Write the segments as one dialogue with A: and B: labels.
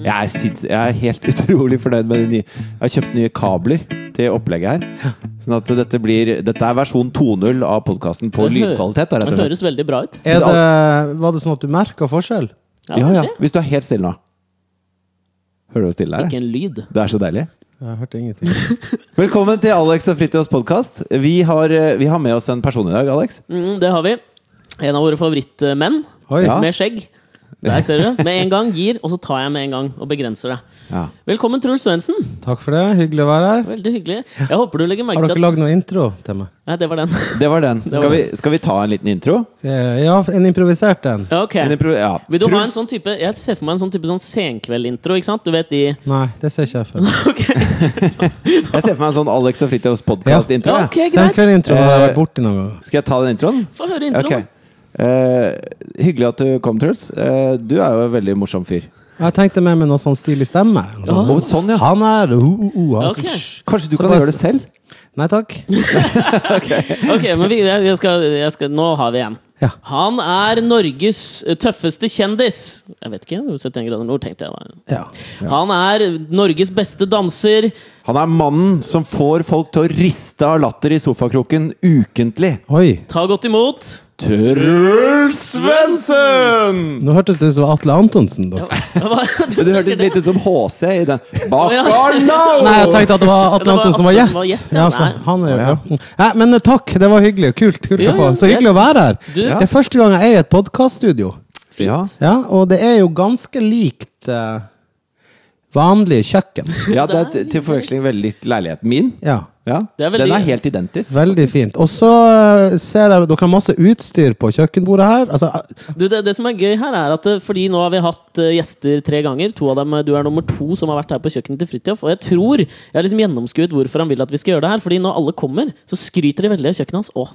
A: Jeg er, sinns- jeg er helt utrolig fornøyd med de nye Jeg har kjøpt nye kabler til opplegget her. Sånn at dette blir Dette er versjon 2.0 av podkasten på
B: Det hø-
A: lydkvalitet. da, rett
B: Det
A: og slett.
B: høres veldig bra ut.
C: Er det, var det sånn at du merka forskjell?
A: Ja, ja.
B: det er
A: Hvis du er helt stille nå. Hører du hvor stille det
B: Ikke
A: er?
B: en lyd.
A: Det er så deilig.
C: Jeg hørte ingenting.
A: Velkommen til Alex og Fritjofs podkast. Vi, har, eh, vi har med oss en person i dag, Alex.
B: Mm, det har vi. En av våre favorittmenn
C: Oi.
A: Ja.
B: med skjegg. Der ser du. Med en gang gir, og så tar jeg med en gang og begrenser det.
A: Ja.
B: Velkommen, Truls Svendsen.
C: Takk for det. Hyggelig å være her.
B: Veldig hyggelig. Jeg håper du legger
C: Har
B: merke
C: dere
B: til at
C: lagd noe intro til meg?
B: Nei, det var den.
A: Det var den. Skal
B: var
A: vi, skal vi ta en liten intro?
C: Eh, Ja, en improvisert en.
B: Ja, Ok.
A: En impro- ja.
B: Vil du ha en
A: Truls,
B: sånn type Jeg ser for meg en sånn type sånn senkveldintro, ikke sant? Du vet de
C: Nei, det ser ikke jeg for meg.
B: Ok,
A: jeg ser for meg en sånn Alex og Fritjofs podkast-intro. jeg.
B: Ja. Ok, greit.
C: Senkveldintro har jeg vært borti noen ganger.
A: Skal jeg ta den introen?
B: Få høre introen.
A: Ok. Eh, hyggelig at du kom, Truls. Eh, du er jo en veldig morsom fyr.
C: Jeg tenkte mer med noe sånn stilig stemme. Noe Sånn,
A: Å, sånn, ja.
C: Han er det, ho, ho, ho, han
B: Ok.
C: som-
A: Kanskje du
C: Så
A: kan
C: bare-
A: gjøre det selv?
C: Nei takk.
B: ok, men vi, jeg, jeg skal, jeg skal, nå har vi en.
C: Ja.
B: Han er Norges eh, tøffeste kjendis. Jeg vet ikke, 71 grader nord, tenkte jeg. da.
C: ja.
B: Han er Norges beste danser.
A: Han er mannen som får folk til å riste av latter i sofakroken ukentlig.
C: Oi.
B: Ta godt imot.
A: Truls Svendsen!
C: Nå hørtes det ut som Atle Antonsen. Da.
A: Du
B: Du
A: hørtes litt ut som HC i den.
C: Nei, jeg
A: Bacalao!
C: tenkte at
B: Det
C: det var Atle
B: var
C: Antonsen som
B: Atle
C: var gjest.
B: som var gjest, ja.
C: ja, for
B: Nei.
C: han er jo
A: Å, ja.
C: bra. Nei, men eh, takk, det var hyggelig. Kult. kult
B: Jo,
C: å få.
B: jo,
C: Så hyggelig å være her.
B: Du-
C: Det er første gang jeg er i et podkaststudio.
A: Ja.
C: Ja, og det er jo ganske likt eh, vanlig kjøkken.
A: ja, det er til- til forveksling veldig likt leiligheten min.
C: Ja,
A: Ja.
B: Det er veldig-
A: Den er helt identisk.
C: veldig fint. Og så eh, ser jeg dere har masse utstyr på kjøkkenbordet her. Altså, eh,
B: Du, det, det som er gøy her, er at eh, fordi nå har vi hatt eh, gjester tre ganger. To av dem, eh, Du er nummer to som har vært her på kjøkkenet til Fridtjof. Og jeg tror jeg har liksom gjennomskuet hvorfor han vil at vi skal gjøre det her. Fordi når alle kommer, så skryter de veldig av kjøkkenet hans. Å,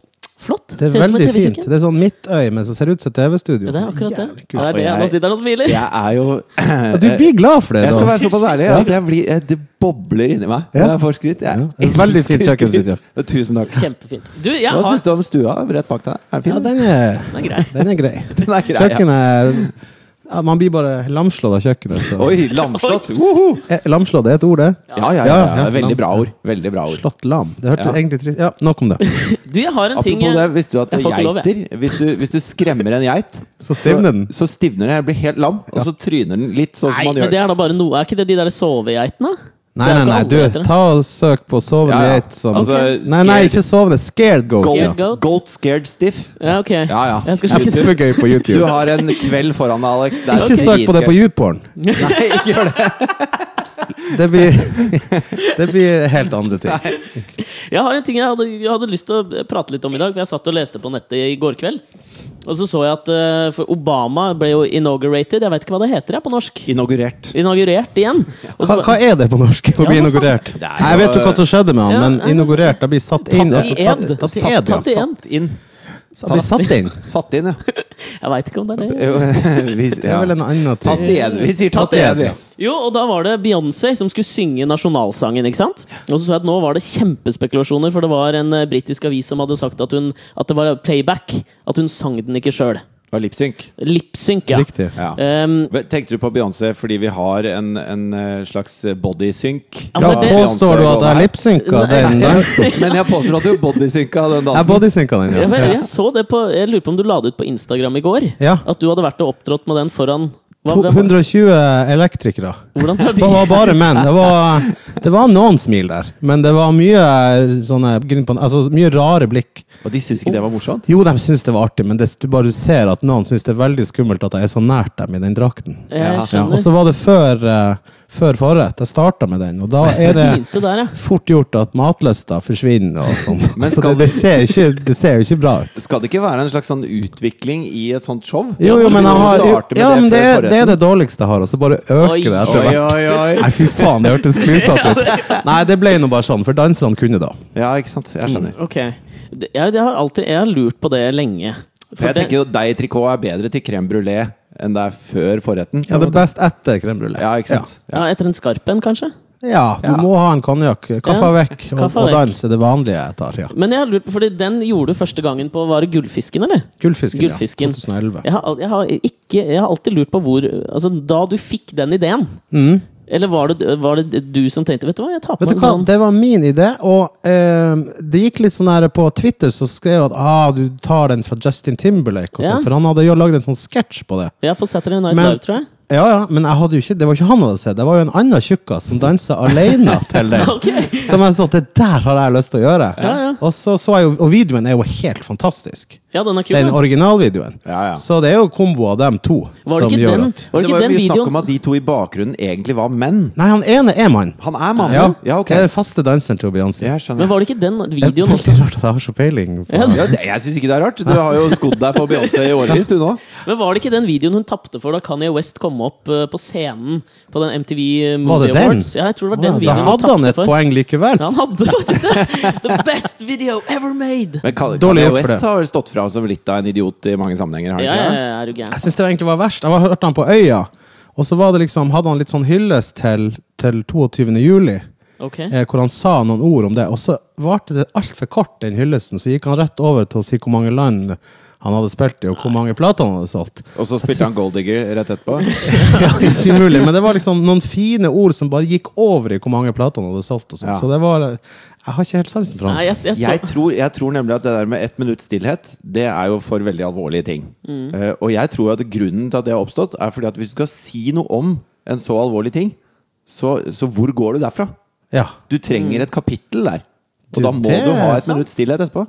B: flott!
C: det er
B: Ser ut som et
C: veldig fint.
B: TV-kjøkken.
C: Det er sånn midtøy, men som ser ut som et TV-studio.
B: Ja, det er akkurat det.
C: Jævlig
B: Ja, det er
C: kult.
B: det.
A: Og
B: Nå
A: jeg-
B: sitter han og smiler.
A: Jeg er jo
C: Ja, Du blir glad for det,
A: Jeg skal
C: da.
A: være såpass ærlig at jeg blir, eh, det bobler inni meg når
C: Ja.
A: jeg får skryt. Jeg
C: Ja. Veldig fint
A: elsker
C: kjøkken,
A: skryt.
C: Fridtjof.
A: Ja, Tusen takk.
B: Kjempefint. Du, jeg
A: Hva
B: har
A: syns du om stua rett bak deg? Er den
C: Ja,
A: fin?
C: den er,
B: Den er grei.
C: den er grei.
A: Den er grei, ja.
C: Kjøkkenet ja, Man blir bare lamslått av kjøkkenet. Så.
A: Oi, lamslått! Woho!
C: Eh, Lamslått er et ord, det?
A: Ja, ja, ja. ja. Veldig bra ord. Veldig bra ord.
C: Slått lam. Det hørte
A: Ja.
C: egentlig trist Ja, nok om det.
B: Du, jeg har en ting
A: Apropos det, visste du at
B: Jeg får ikke lov, jeg.
A: geiter hvis du, hvis du skremmer en geit,
C: Så stivner den.
A: så stivner den, blir helt lam, og så tryner den litt sånn
B: Nei,
A: som man
B: men
A: gjør.
B: det er da bare noe Er ikke det de der sovegeitene?
C: Nei, nei, nei, du, ta og søk på sovende
A: Ja, ja.
C: geit som
A: Altså,
C: Nei,
A: scared-
C: nei, ikke sovende. Scared goat.
B: Scared
C: ja.
A: Goat,
B: Scared goat.
A: goat scared stiff.
B: Ja, ok.
A: Ja, ja.
B: Jeg skal sjekke det ut.
C: Kjempegøy på
A: Du
C: YouTube.
A: har en kveld foran deg, Alex. Det er
C: Ikke søk på det på YouPorn.
A: Nei, ikke gjør det.
C: Det blir, det blir helt andre ting.
B: Jeg har en ting jeg hadde, jeg hadde lyst til å prate litt om i dag, for jeg satt og leste på nettet i går kveld. Og så så jeg at eh, for Obama ble jo inaugurated, jeg vet ikke hva det heter jeg, på norsk.
A: Inaugurert.
B: Inaugurert igjen. Og
C: Hva,
B: så-
C: hva er det på norsk å bli
B: Ja, hva faen?
C: inaugurert?
A: Det er
C: Nei, Jeg vet jo hva som skjedde med
B: Ja,
C: han,
B: nei,
C: men inaugurert Da blir satt inn. Altså,
B: Tatt i ed.
C: tatt- tatt i
B: Tatt-
C: ed, ja.
B: tatt i ed.
A: Satt inn.
C: Så blir satt inn.
A: Satt inn, ja.
B: Jeg veit ikke om det er det.
A: Jo, Eh, vi,
C: Det er
A: ja.
C: vel en annen
A: Tatt
C: ting.
A: igjen. Vi sier tatt
C: Tatt igjen,
A: igjen, vi.
C: ja.
B: Jo, og da var det Beyoncé som skulle synge nasjonalsangen, ikke sant? Og så så jeg at nå var det kjempespekulasjoner, for det var en eh, britisk avis som hadde sagt at, hun, at det var playback. At hun sang den ikke sjøl.
A: Og lipsynk.
B: Lipsynk, ja.
C: Riktig.
A: Ja.
B: Ehm,
A: Men Tenkte du på Beyoncé fordi vi har en, en eh, slags bodysynk?
B: Ja,
C: Da
B: men det-
C: påstår du at jeg har
A: Beyoncé
C: lipsynka
B: Nei.
C: den dansen.
A: gående. Men jeg påstår at du bodysynka den
C: Jeg
A: dansen.
C: bodysynka den,
B: jeg,
C: ja.
B: jeg så det på Jeg lurer på om du la det ut på Instagram i går?
C: Ja.
B: At du hadde vært og opptrådt med den foran hva- hvem-
C: 220 elektrikere.
B: Hvordan tar de
C: Det var bare menn. Det var, det var noen smil der, men det var mye eh, sånne grin på Altså mye rare blikk.
A: Og de syns ikke det var morsomt?
C: Jo, de syns det var artig, men det, du bare ser at noen syns det er veldig skummelt at jeg er så nært dem i den drakten.
B: Jeg
C: Ja, og
B: skjønner.
C: så var det før, eh, før forrett. Jeg starta med den, og da er det
B: Begynte der, ja.
C: fort gjort at matlysta forsvinner og sånn.
A: Men
C: Så
A: skal-
C: det, det, ser ikke, det ser jo ikke bra ut.
A: Skal det ikke være en slags sånn utvikling i et sånt show?
C: Jo, jo, men,
A: Du
C: jeg har, jo,
A: starter med
C: ja, men det,
A: før
C: er, det er
A: forretten.
C: det dårligste jeg har, og så bare øker
B: Oi.
C: det etter hvert.
A: Oi, oi, oi.
C: Nei, fy faen, det hørtes klysete ut. Nei, det ble nå bare sånn, for danserne kunne da.
A: Ja, ikke sant. Jeg skjønner.
B: Ok. Det- Jeg, jeg, har alltid, jeg har lurt på det lenge. For
A: For jeg
B: det-
A: tenker jo deg i trikot er bedre til crème brulé enn det er før forretten.
C: Ja, det er best etter crème brulé.
A: Ja, ikke sant.
B: ja, etter en skarp en, kanskje?
C: Ja. Ja, du
A: Ja.
C: må ha en konjakk. Kaffa
B: Ja,
C: vekk og,
B: kaffa
C: og
B: vekk.
C: dans er det vanlige jeg tar. ja.
B: Men jeg har lurt, fordi den gjorde du første gangen på Var det Gullfisken, eller?
C: Gullfisken,
B: Gullfisken.
C: ja. 2011.
B: Jeg har, al- jeg, har ikke, jeg har alltid lurt på hvor Altså, da du fikk den ideen
C: Mm.
B: Eller var det, var det du som tenkte Vet du hva, jeg tar på
C: Vet du
B: en
C: hva,
B: sånn
C: det var min idé, og eh, det gikk litt sånn her på Twitter, så skrev jeg at ah, du tar den fra Justin Timberlake, og sånn,
B: Ja.
C: for han hadde jo lagd en sånn sketsj på det.
B: Ja, på Saturday Night
C: Men-
B: Live, tror jeg.
C: Ja, ja, men jeg hadde jo ikke, det var ikke han hadde sett, det var jo en annen tjukkas som dansa alene til den.
B: Ok!
C: Som jeg så, det der har jeg lyst til å gjøre.
B: Ja, ja.
C: Og så så jeg jo, og videoen er jo helt fantastisk.
B: Ja, den er kul.
C: Den
B: da.
C: originalvideoen.
A: Ja, ja.
C: Så det er jo kombo av dem to
B: Var det
C: som
B: ikke
C: gjør
B: den, var
C: at-
B: det
A: Det
B: ikke
A: var jo
B: den
A: mye snakk om
B: videoen
A: at de to i bakgrunnen egentlig var menn.
C: Nei, han ene er mann.
A: Han er mann,
C: Ja,
A: ja ok.
C: Det er den faste danseren til Beyoncé.
A: Jeg skjønner.
B: Men var det ikke den
C: Det er
B: videoen også?
C: veldig rart at jeg har så peiling. På.
B: Ja, det-
A: Ja, det, jeg syns ikke det er rart. Du har jo skodd deg på Beyoncé i årevis, du nå.
B: Men var det ikke den videoen hun tapte for da Kanye West kom opp eh, på scenen på den MTV eh,
C: Var
B: Movie
C: det den?
B: Awards? Ja, jeg tror det var den
C: Å, da
B: videoen hun
C: hadde
B: tapte
C: han et
B: for.
C: poeng likevel.
B: Ja, han hadde faktisk det! The best video ever made!
A: Men Ka-
C: Dårlig
A: Kanye
C: gjort
A: West
C: for det.
A: har stått fram som litt av en idiot i mange sammenhenger. Har
B: Ja,
A: han ikke
B: ja,
A: det?
B: ja, er du
C: Jeg
B: gæren.
C: syns det egentlig var verst. Jeg var- hørte han på Øya, og så var det liksom, hadde han litt sånn hyllest til, til 22. juli.
B: Ok.
C: Eh, hvor han sa noen ord om det, og så varte det altfor kort, den hyllesten. Så gikk han rett over til å si hvor mange land han hadde spilt i, og hvor mange plater han hadde solgt.
A: Og så spilte han Goldigger rett etterpå.
C: ja, ikke mulig, men det var liksom noen fine ord som bare gikk over i hvor mange plater han hadde solgt. Og sånt.
A: Ja.
C: Så det var Jeg har ikke helt sansen for
B: Nei,
C: han.
B: jeg, jeg, så,
A: Jeg tror, jeg tror nemlig at det der med ett minutts stillhet, det er jo for veldig alvorlige ting.
B: Mm.
A: Eh, og jeg tror at grunnen til at det har oppstått, er fordi at hvis du skal si noe om en så alvorlig ting, så, så hvor går du derfra?
C: Ja.
A: Du trenger et kapittel der. Og
C: Mm. Du,
A: da må
C: det
A: du ha
C: er
A: et minutts stillhet etterpå.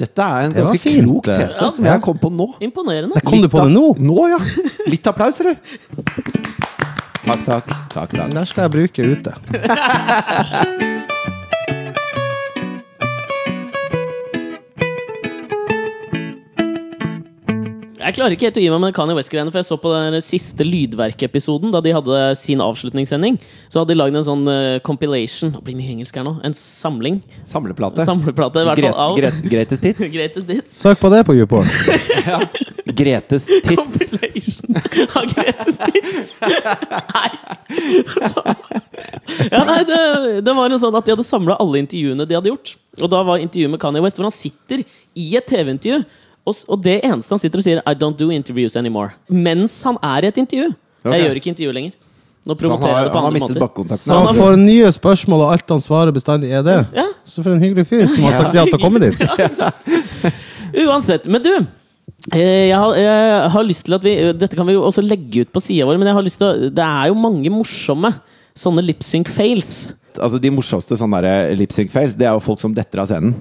A: Dette er en
C: Det var
A: ganske
C: fint,
A: klok
C: det.
A: tese som
C: Ja.
A: jeg kom på nå.
B: imponerende.
C: Det kom du på det nå?
A: Nå, ja! Litt applaus, eller? Takk, takk. takk, takk.
C: Der skal jeg bruke ute.
B: Jeg klarer ikke helt å gi meg med Kanye West-greiene, for jeg så på den siste Lydverk-episoden, da de hadde sin avslutningssending. Så hadde de lagd en sånn eh, compilation Det blir mye engelsk her nå. En samling.
A: Samleplate.
B: Samleplate, i hvert fall av
A: Gre- Gre- Gretes tits.
B: Greatest Hits.
C: Søk på det på YouPorn.
A: Ja. Gretes tits.
B: Compilation av Greatest Hits. Nei! Ja, nei, det, det var en sånn at De hadde samla alle intervjuene de hadde gjort. Og da var intervjuet med Kanye West, hvor han sitter i et TV-intervju. Og, s- og det eneste han sitter og sier, I don't do interviews anymore. Mens han er i et intervju.
A: Ok.
B: Jeg gjør ikke intervju lenger.
A: Så
B: Nå
A: han
B: promoterer
A: har,
B: jeg det på
A: han har
B: andre
A: mistet
B: måter.
A: bakkontakten.
C: Så
B: han
C: han
B: har
C: får nye spørsmål, og alt han svarer bestandig er det.
B: Ja.
C: Så for en hyggelig fyr som har sagt ja til å komme dit.
B: Ja, ikke sant? Uansett. Men du, eh, jeg har, jeg har lyst til at vi Dette kan vi jo også legge ut på sida vår, men jeg har lyst til å, det er jo mange morsomme sånne lipsync fails.
A: Altså De morsomste sånne der eh, lip sync fails, det er jo folk som detter av scenen.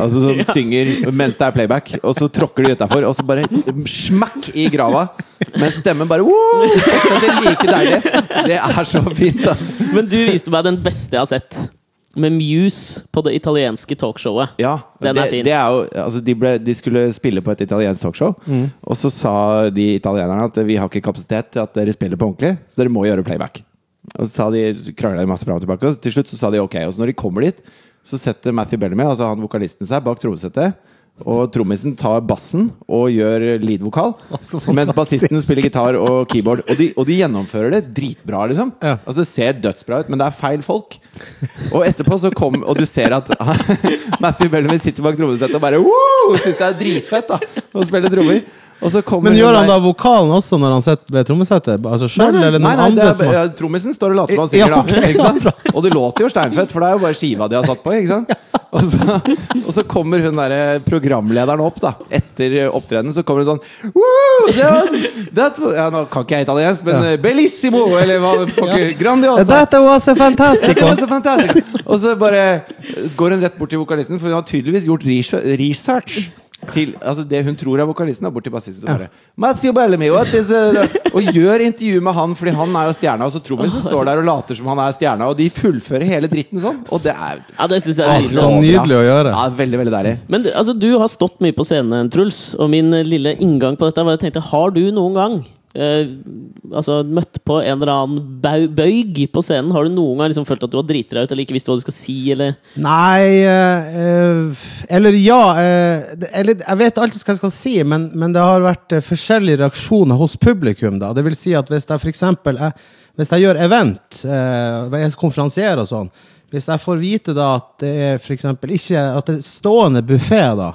A: Altså Som synger mens det er playback, og så tråkker de utafor, og så bare smakk i grava! Mens stemmen bare «Woo!» Det er like deilig. Det er så fint, altså.
B: Men du viste meg den beste jeg har sett. Med Muse på det italienske talkshowet.
A: Ja,
B: Den er
A: det,
B: fin.
A: det er jo, altså de, ble, de skulle spille på et italiensk talkshow,
C: Mm.
A: og så sa de italienerne at vi har ikke kapasitet til at dere spiller på ordentlig, så dere må gjøre playback. Og så sa de, så krangla de masse fram og tilbake, og til slutt så sa de ok. Og så når de kommer dit, så setter Matthew Bellamy, altså han vokalisten, seg bak trommesettet. Og trommisen tar bassen og gjør lead-vokal.
C: Altså,
A: mens
C: fantastisk.
A: bassisten spiller gitar og keyboard. Og de, og de gjennomfører det dritbra, liksom.
C: Ja.
A: Altså Det ser dødsbra ut, men det er feil folk. Og etterpå så kom Og du ser at Matthew Bellamy sitter bak trommesettet og bare Woo! Syns det er dritfett da å spille trommer. Og så kommer
C: Men
A: hun
C: gjør han
A: der-
C: da vokalen også når han sitter ved trommesettet? Altså sjøl,
A: Nei,
C: eller noen
A: nei, det
C: andre
A: er,
C: som har
A: ja, trommisen står og later som han
C: Ja,
A: synger, da.
C: ok,
A: Ikke sant? Og det låter jo steinfett, for det er jo bare skiva de har satt på. Ikke sant? Og, så, og så kommer hun derre programlederen opp, da. Etter opptredenen så kommer hun sånn «Woo! det var- det var- ja, Nå kan ikke jeg italiensk, men eh, bellissimo! Eller hva pokker. Grandiosa!
C: Dette was a
A: Ja, det
C: fantastico!
A: var så fantastisk! Og så bare går hun rett bort til vokalisten, for hun har tydeligvis gjort research- research. Til, altså Det hun tror er vokalisten, er bort til bassisten. og bare, Matthew Bellamy, what is it? Og gjør intervju med han, Fordi han er jo stjerna. Og så trommisen står der og later som han er stjerna, og de fullfører hele dritten sånn. Og det er
B: Ja, det synes jeg
C: Å,
B: er
C: så
B: nydelig. ass.
C: sånn nydelig å gjøre.
A: Ja, veldig, veldig deilig.
B: Men du, altså, du har stått mye på scenen, Truls. Og min eh, lille inngang på dette var jeg tenkte Har du noen gang eh, altså, møtt på en eller annen bau- bøyg på scenen? Har du noen gang liksom følt at du har driti deg ut, eller ikke visst hva du skal si? Eller?
C: Nei eh, eh, Eller ja eh, det- Eller jeg vet alltid hva jeg skal si, men, men det har vært eh, forskjellige reaksjoner hos publikum. da. Det vil si at hvis jeg for eksempel, jeg, hvis jeg gjør event, eh, jeg er konferansier og sånn Hvis jeg får vite da at det er for eksempel ikke at det er stående buffé, da,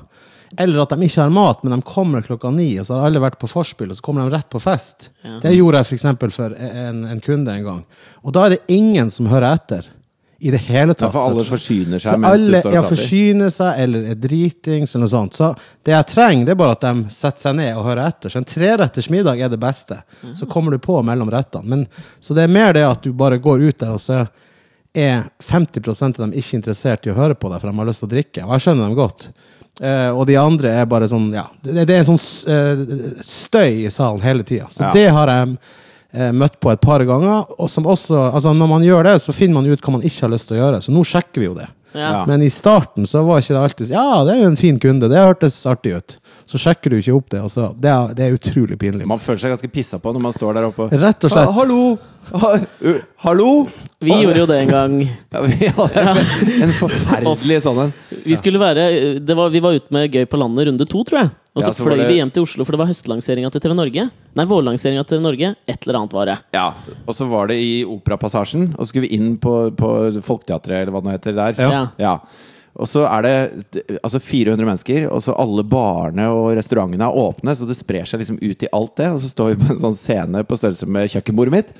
C: eller at de ikke har mat, men de kommer klokka ni, og så har alle vært på forspill, og så kommer de rett på fest Det gjorde jeg for eksempel for en, en kunde en gang. Og da er det ingen som hører etter. I det hele
A: Ja,
C: tatt.
A: for alle
C: rett og slett.
A: forsyner seg
C: For
A: mens
C: alle,
A: du står og
C: ja,
A: prater.
C: forsyner seg eller er dritings eller noe sånt. Så det jeg trenger, det er bare at de setter seg ned og hører etter. Så en treretters middag er det beste. Så kommer du på mellom rettene. Men, så det er mer det at du bare går ut der, og så er 50 av dem ikke interessert i å høre på deg, for de har lyst til å drikke. Og jeg skjønner dem godt. Eh, og de andre er bare sånn Ja, det, det er en sånn s- eh, støy i salen hele tida. Så
A: Ja.
C: det har jeg eh, møtt på et par ganger. Og som også, altså når man gjør det, så finner man ut hva man ikke har lyst til å gjøre. Så nå sjekker vi jo det.
A: Ja.
C: Men i starten så var ikke det alltid Ja, det er jo en fin kunde, det hørtes artig ut. Så sjekker du ikke opp det, og så Det er, det er utrolig pinlig.
A: Man føler seg ganske pissa på når man står der oppe.
C: Rett og slett.
A: Ha- Hallo! Ha, u- hallo!
B: Vi gjorde jo det en gang.
A: Ja, vi hadde en forferdelig sånn en.
B: Vi, skulle være, eh, det var, vi var ute med Gøy på landet runde to, tror jeg. Og så,
A: Ja, så var
B: fløy
A: det-
B: vi hjem til Oslo, for det var høstlanseringa til TV Norge. Nei, vårlanseringa til TV Norge. Et eller annet var det.
A: Ja, Og så var det i Operapassasjen, og så skulle vi inn på, på Folketeatret, eller hva det nå heter der.
B: Ja.
A: Og så er det altså 400 mennesker, og så alle barene og restaurantene er åpne, så det sprer seg liksom ut i alt det. Og så står vi på en sånn scene på størrelse med kjøkkenbordet mitt,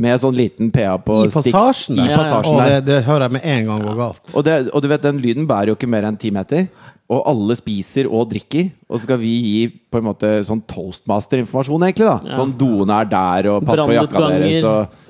A: med sånn liten PA på
C: I
A: sticks.
C: passasjen der.
A: I passasjen
C: Og
A: der.
C: det, det hører jeg med en gang går galt.
A: Og, det, og du vet, den lyden bærer jo ikke mer enn ti meter. Og alle spiser og drikker, og så skal vi gi på en måte sånn toastmaster-informasjon. egentlig da Sånn doene er der, og pass på jakka
B: Brannutganger.
A: deres.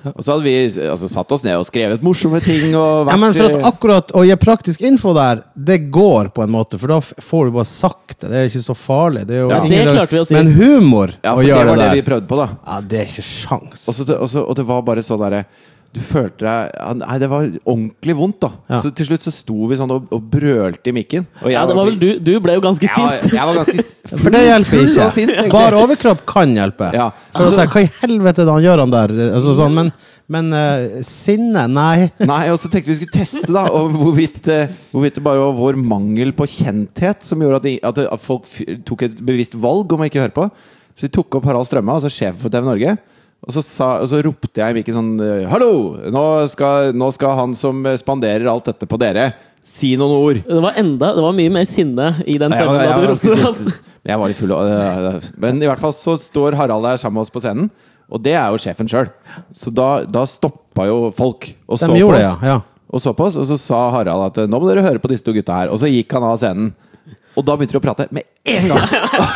A: Og, og så hadde vi altså, satt oss ned og skrevet morsomme ting. Og
C: Ja, men for at
A: eh,
C: akkurat å gi praktisk info der, det går på en måte, for da f- får du bare sagt det. Det er ikke så farlig. Det er jo
A: Ja.
C: ingen-
B: Det klarte vi å si.
C: Men humor
A: ja,
C: å
A: for det
C: gjøre
A: var det,
C: det,
A: vi
C: der,
A: prøvde på, da.
C: ja, det er ikke sjans.
A: Og, så, og, så, og det var bare sånn derre Du følte deg ja, Nei, det var ordentlig vondt, da.
C: Ja.
A: Så til slutt så sto vi sånn og, og brølte i mikken. Og jeg
B: Ja, det var vel du. Du ble jo ganske
A: Jeg var,
B: sint.
A: jeg var ganske s- full,
C: For det hjelper
A: full og sint,
C: ikke.
A: egentlig.
C: Bare overkropp kan hjelpe.
A: Ja.
C: For at, jeg- hva i helvete er det han gjør han der? Altså, sånn, men men eh, sinne? Nei.
A: Nei, og så tenkte vi skulle teste da og hvorvidt, eh, hvorvidt det bare var vår mangel på kjenthet som gjorde at, de, at, at folk f- tok et bevisst valg om å ikke høre på. Så vi tok opp Harald Strømme, altså sjefen for TV Norge. Og så, sa, og så ropte jeg i mikken sånn eh, Hallo! Nå skal, nå skal han som eh, spanderer alt dette på dere, si noen ord.
B: Det var enda, det var mye mer sinne i den
A: Jeg
B: stemmen.
A: var-
B: da
A: jeg
B: du
A: var
B: roste
A: ganske
B: oss.
A: sint. Men jeg var litt full av øh, øh. Men i hvert fall så står Harald der sammen med oss på scenen, og det er jo sjefen sjøl. Så da, da stoppa jo folk og
C: De
A: så på
C: gjorde det,
A: oss.
C: ja, ja.
A: Og så på oss, og så sa Harald at nå må dere høre på disse to gutta her. Og så gikk han av scenen. Og da begynte de å prate med en gang!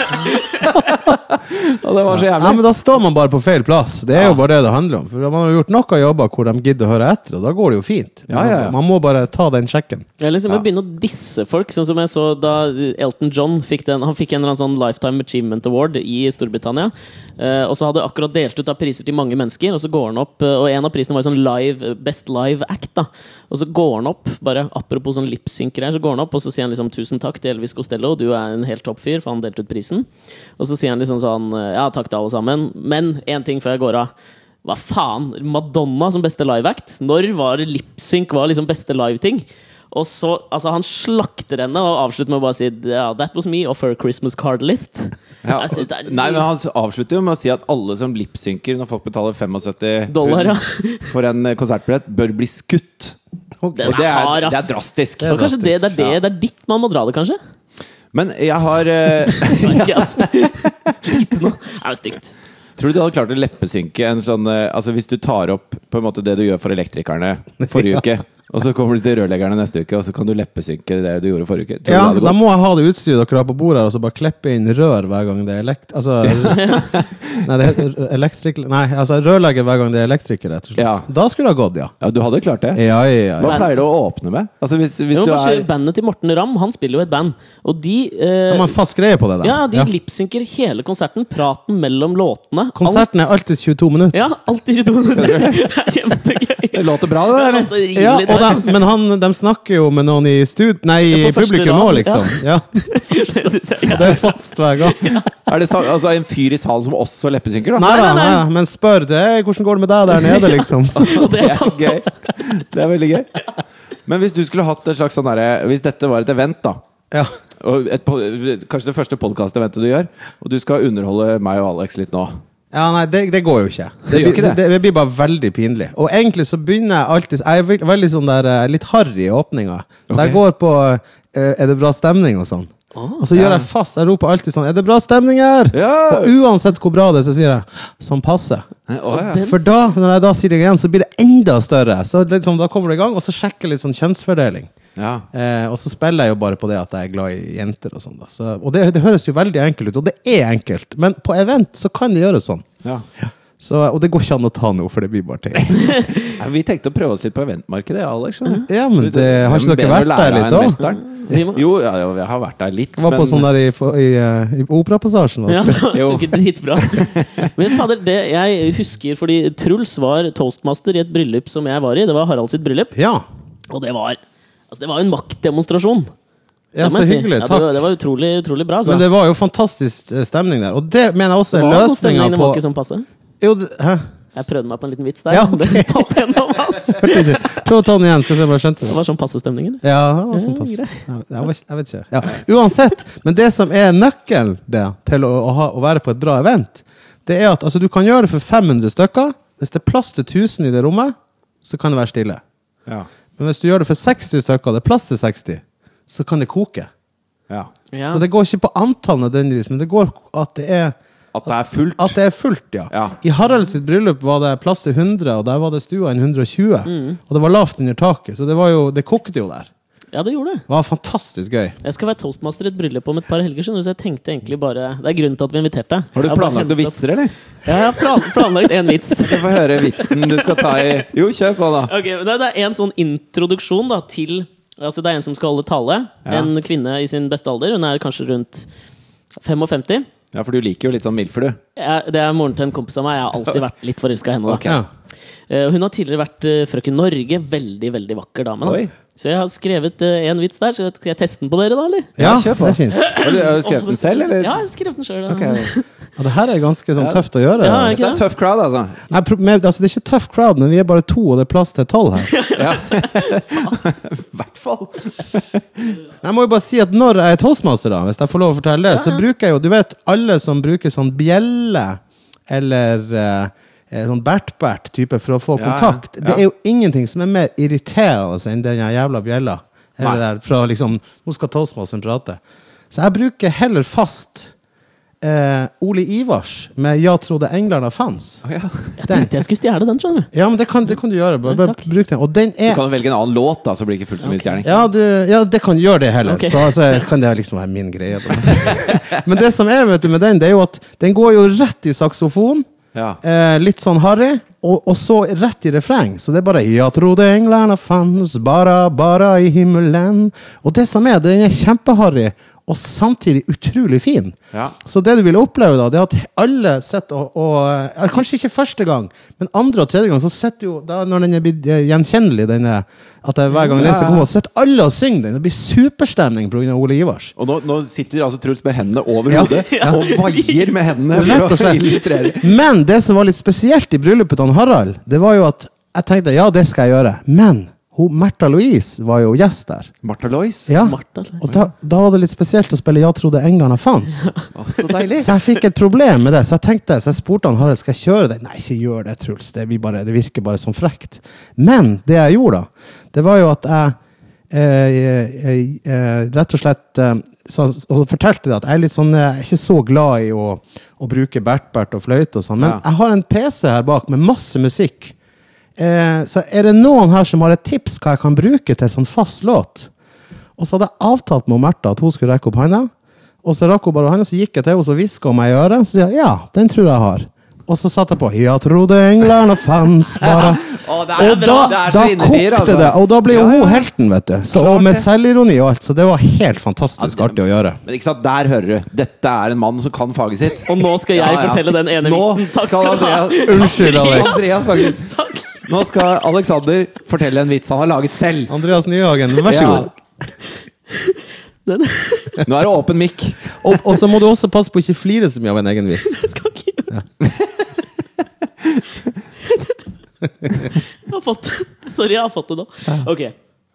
A: og det var så
C: Nei,
A: jævlig.
C: men Da står man bare på feil plass. Det er jo bare det det handler om. For Man har gjort nok av jobber hvor de gidder å høre etter, og da går det jo fint.
A: Ja, ja, ja.
C: Man må bare ta den sjekken.
B: Eller liksom å begynne å disse folk, sånn som jeg så da Elton John fikk den Han fikk en eller annen sånn Lifetime Achievement Award i Storbritannia. Eh, og så hadde akkurat delt ut av priser til mange mennesker, og så går han opp eh, Og en av prisene var sånn live, Best Live Act, da. Og så går han opp, bare apropos sånn lipsynker her, så går han opp og så sier han liksom 'Tusen takk til Elvis Costello, du er en helt topp fyr', for han delte ut prisen. Og så sier han liksom sånn eh, 'Ja, takk til alle sammen, men én ting før jeg går av'. Hva faen? Madonna som beste liveact? Når var det lipsync var liksom beste liveting? Og så, altså Han slakter henne og avslutter med å bare si ja, 'That was me off her Christmas card list'.
A: Ja,
B: Jeg synes det er
A: nei, men Han avslutter jo med å si at alle som lipsynker når folk betaler 75
B: Dollar, ja.
A: for en eh, konsertbillett, bør bli skutt.
B: Den
A: Og det
B: er hard,
A: er,
B: ass.
A: det er drastisk.
B: Så kanskje det, det, er det,
A: Ja.
B: det er ditt man må dra det, kanskje?
A: Men jeg har eh,
B: Jeg vet Ikke, ass. Lite nå. Det er jo stygt.
A: Tror du du hadde klart å leppesynke en sånn eh, Altså hvis du tar opp på en måte det du gjør for elektrikerne forrige uke, og så kommer du til rørleggerne neste uke, og så kan du leppesynke det du gjorde forrige uke? Tror
C: Ja,
A: du det hadde
C: da
A: gått?
C: må jeg ha det utstyret dere har på bordet her, og så bare klippe inn rør hver gang det er elekt... Altså, nei, det heter elektrik... Nei, altså rørlegger hver gang det er elektriker, rett og slett.
A: Ja.
C: Da skulle det ha gått, ja.
A: Ja, du hadde klart det?
C: Ja, ja, ja.
A: Hva pleier du å åpne med? Altså hvis, hvis
B: Jo,
A: du
B: kanskje
A: er
B: Bandet til Morten Ramm, han spiller jo et band, og de eh,
C: De har en fast greie på det der.
B: ja, de lipsynker hele konserten. Praten mellom låtene.
C: Konserten er alltid 22 minutter.
B: Ja, alltid 22 minutter. Det er Kjempegøy.
A: Det låter bra, det,
B: Ja,
A: eller?
B: det er
C: Ja,
B: rimelig
C: og da, men han, de snakker jo med noen i stud... Nei,
B: Ja,
C: i
B: på første
C: publikum nå,
B: rad, ja.
C: liksom. Ja.
B: Det synes jeg
C: Det er fast hver gang. Nei
A: Er det sa- altså, en fyr i salen som også leppesynker, da?
C: da,
B: nei,
C: nei,
B: nei.
C: men spør det. «Hei, Hvordan går det med deg der nede, liksom?
B: Og det
A: Det
B: er
A: er
B: sant.
A: gøy. Det er veldig gøy. Men hvis du skulle hatt et slags sånn derre Hvis dette var et event, da.
C: Ja.
A: Og et, po- kanskje det første podkast-eventet du gjør, og du skal underholde meg og Alex litt nå.
C: Ja, nei, det, det går jo ikke.
A: Det gjør ikke det.
C: Det, blir bare veldig pinlig. Og egentlig så begynner jeg alltid Jeg er veld- veldig sånn der eh, litt harry i åpninga. Så
A: Ok.
C: jeg går på eh, Er det bra stemning? og sånn.
B: Ah,
C: og så gjør jeg fast. Jeg roper alltid sånn Er det bra stemning her?
A: Ja.
C: Og uansett hvor bra det er, så sier jeg sånn passe.
A: Å, ja.
B: Den-
C: For da, når jeg da sier det igjen, så blir det enda større. Så liksom, da kommer det i gang, og så sjekker jeg litt sånn kjønnsfordeling.
A: ja.
C: Eh, og så spiller jeg jo bare på det at jeg er glad i jenter og sånn. da så, Og det, det høres jo veldig enkelt ut, og det er enkelt, men på event så kan det gjøres sånn.
A: ja.
C: Så, og det går ikke an å ta noe, for det blir bare teit.
A: Nei, Vi tenkte å prøve oss litt på eventmarkedet, ja, Alex. skjønner du?
C: Ja, men
A: Så
C: det- har ikke
A: hvem
C: dere
A: bedre
C: vært
A: å lære
C: der
A: av
C: litt
A: enn
C: da?
A: mesteren?
B: Vi må-
A: Jo, ja, jo, jeg har vært der litt.
C: Jeg var på
A: men-
C: sånn der i, for- i, eh, i Operapassasjen.
B: Ja,
C: da.
B: det
A: Jo.
B: funker dritbra. Men fader, det jeg husker fordi Truls var toastmaster i et bryllup som jeg var i. Det var Harald sitt bryllup,
C: Ja.
B: og det var altså, Det var jo en maktdemonstrasjon.
C: ja,
B: Det må
C: så
B: jeg si.
C: hyggelig.
B: Ja, det,
C: Takk.
B: var- det var utrolig, utrolig bra. Altså.
C: Men det var jo fantastisk eh, stemning der, og det mener jeg også er
B: var god stemning,
C: løsninga
B: det var
C: på
B: ikke sånn passe.
C: Jo, det- hæ?
B: Jeg prøvde meg på en liten vits der.
C: Ja,
B: men den datt gjennom, ass.
C: Hørte ikke. Prøv å ta den igjen, skal vi se om jeg skjønte
B: Det
C: det.
B: var sånn passe stemning, eller?
C: Ja, det var sånn
B: Ja,
C: pass.
B: grei.
C: Jeg, jeg, vet- jeg vet ikke. Ja. Uansett, men det som er nøkkelen det, til å, å, ha, å være på et bra event, det er at altså, du kan gjøre det for 500 stykker. Hvis det er plass til 1000 i det rommet, så kan det være stille.
A: Ja.
C: Men hvis du gjør det for 60 stykker, og det er plass til 60, så kan det koke.
A: ja.
B: Ja.
C: Så det går ikke på antall nødvendigvis, men det går at det er
A: At det er fullt.
C: at det er fullt, ja.
A: Ja.
C: I Harald sitt bryllup var det plass til 100, og der var det stua en 120.
A: Mm.
C: Og det var lavt under taket, så det, var jo, det kokte jo der.
B: ja, det gjorde det.
C: Det var fantastisk gøy.
B: Jeg skal være toastmaster i et bryllup om et par helger, skjønner du, så jeg tenkte egentlig bare Det er grunnen til at vi inviterte deg.
A: Har du
B: Jeg bare
A: planlagt
B: hentet
A: noen
B: opp-
A: vitser, eller?
B: Ja, jeg har plan planlagt en vits.
A: Jeg får høre vitsen du skal ta i Jo, kjør på, da.
B: Ok, men det, det er en sånn introduksjon da, til altså Det er en som skal holde tale.
A: Ja.
B: En kvinne i sin beste alder. Hun er kanskje rundt 55.
A: Ja, for du liker jo litt sånn milfer, du.
B: Jeg, det er moren til en kompis av meg. Jeg har alltid vært litt forelska i henne. Da.
A: Ok.
C: Ja.
B: Eh, Hun har tidligere vært eh, frøken Norge. Veldig veldig vakker dame.
A: Oi.
B: Da. Så jeg har skrevet eh, en vits der. Så Skal jeg teste den på dere, da? eller?
C: Ja,
A: Ja, kjør på.
C: det er fint.
A: Har du, har du skrevet den selv, eller?
B: Ja, jeg skrev den sjøl.
A: Ok.
C: Og det her er ganske sånn tøft å gjøre.
B: Ja,
A: Det er en tøff crowd, altså.
C: Nei, pro- med, altså, det er ikke tøff crowd, men vi er bare to, og det er plass til tolv her.
A: I hvert fall.
C: Men Jeg må jo bare si at når jeg er toastmaster, da, hvis jeg får lov å fortelle det, så bruker jeg jo Du vet alle som bruker sånn bjelle eller eh, eh, sånn bert-bert-type for å få
A: Ja, ja.
C: kontakt.
A: Ja.
C: Det er jo ingenting som er mer irriterende enn den jævla bjella. Eller
A: Nei.
C: der, fra liksom Nå skal toastmasteren prate. Så jeg bruker heller fast eh, Ole Ivars med 'Ja trodde England fans'.
A: ja.
B: Jeg tenkte jeg skulle stjele den, skjønner du.
C: Ja, men det kan, det kan du gjøre. Bare, bare
B: Takk.
C: bruk den. Og den
A: Du
C: er
A: kan jo velge en annen låt, da, så blir det ikke fullt så mye stjerning.
C: Ja, du, ja, det kan gjøre det heller.
B: Ok.
C: Så altså, kan det liksom være min greie. Da. Men det som er vet du, med den, det er jo at den går jo rett i saksofon.
A: Ja.
C: Eh, litt sånn harry, og, og så rett i refreng. Så det er bare Ja, trodde englerne fanns, bara, bara i himmelen. Og det som er, den er kjempeharry, og samtidig utrolig fin.
A: Ja.
C: Så det du vil oppleve, da, det er at alle sitter og, og eh, Kanskje ikke første gang, men andre og tredje gang, så sitter jo da når den er blitt eh, gjenkjennelig, denne, at det er hver gang den skal komme, og sitter alle og synger den. Det blir superstemning pga. Ole Ivars.
A: Og nå, nå sitter altså Truls med hendene over
C: Ja.
A: hodet og vaier med hendene
C: Rett og
A: for å illustrere.
C: slett. Men det som var litt spesielt i bryllupet til han Harald, det var jo at jeg tenkte ja, det skal jeg gjøre. Men hun, Märtha Louise var jo gjest der.
A: Martha Lois.
C: Ja.
B: Martha Louise.
C: Og da, da var det litt spesielt å spille 'Ja, trodde englene fantes'.
A: Å, så deilig.
C: Så jeg fikk et problem med det, så jeg tenkte, så jeg spurte han Harald skal jeg kjøre det. Nei, ikke gjør det, Truls. Det, blir bare, det virker bare som frekt. Men det jeg gjorde, da, det var jo at jeg eh, eh, eh, rett og slett eh, så, og så fortalte det at jeg er litt sånn, jeg er ikke så glad i å, å bruke bert-bert og fløyte og sånn, men
A: Ja.
C: jeg har en PC her bak med masse musikk. Eh, så er det noen her som har et tips hva jeg kan bruke til sånn fast låt? Og så hadde jeg avtalt med Märtha at hun skulle rekke opp handa. Og så rakk hun bare handa, så gikk jeg til henne og så hviska hun meg i øret. Så sier jeg ja, den tror jeg har. Og så satte jeg på Ja, trodde englene fanns bare
A: Å, det er
C: Og da,
A: bra. Det er så
C: da
A: innerlig,
C: kokte
A: altså.
C: det, og da ble jo hun helten, vet du. Så, og med selvironi og alt, så det var helt fantastisk
A: Ja, det-
C: artig å gjøre.
A: Men ikke sant, der hører du. Dette er en mann som kan faget sitt.
B: Og nå skal jeg fortelle den ene
A: Nå
B: vitsen. Takk
A: skal
B: skal du ha.
A: Andreas
C: Unnskyld, Alex.
A: Andreas faktisk
B: Takk.
A: Nå skal Alexander fortelle en vits han har laget selv.
C: Andreas Nyhagen, vær så
A: Ja.
C: god.
B: Den
A: Nå er det åpen mic.
C: Og, og så må du også passe på å ikke flire så mye av en egen vits.
B: Jeg skal ikke gjøre Jeg har fått det. Sorry, jeg har fått det nå. Ok.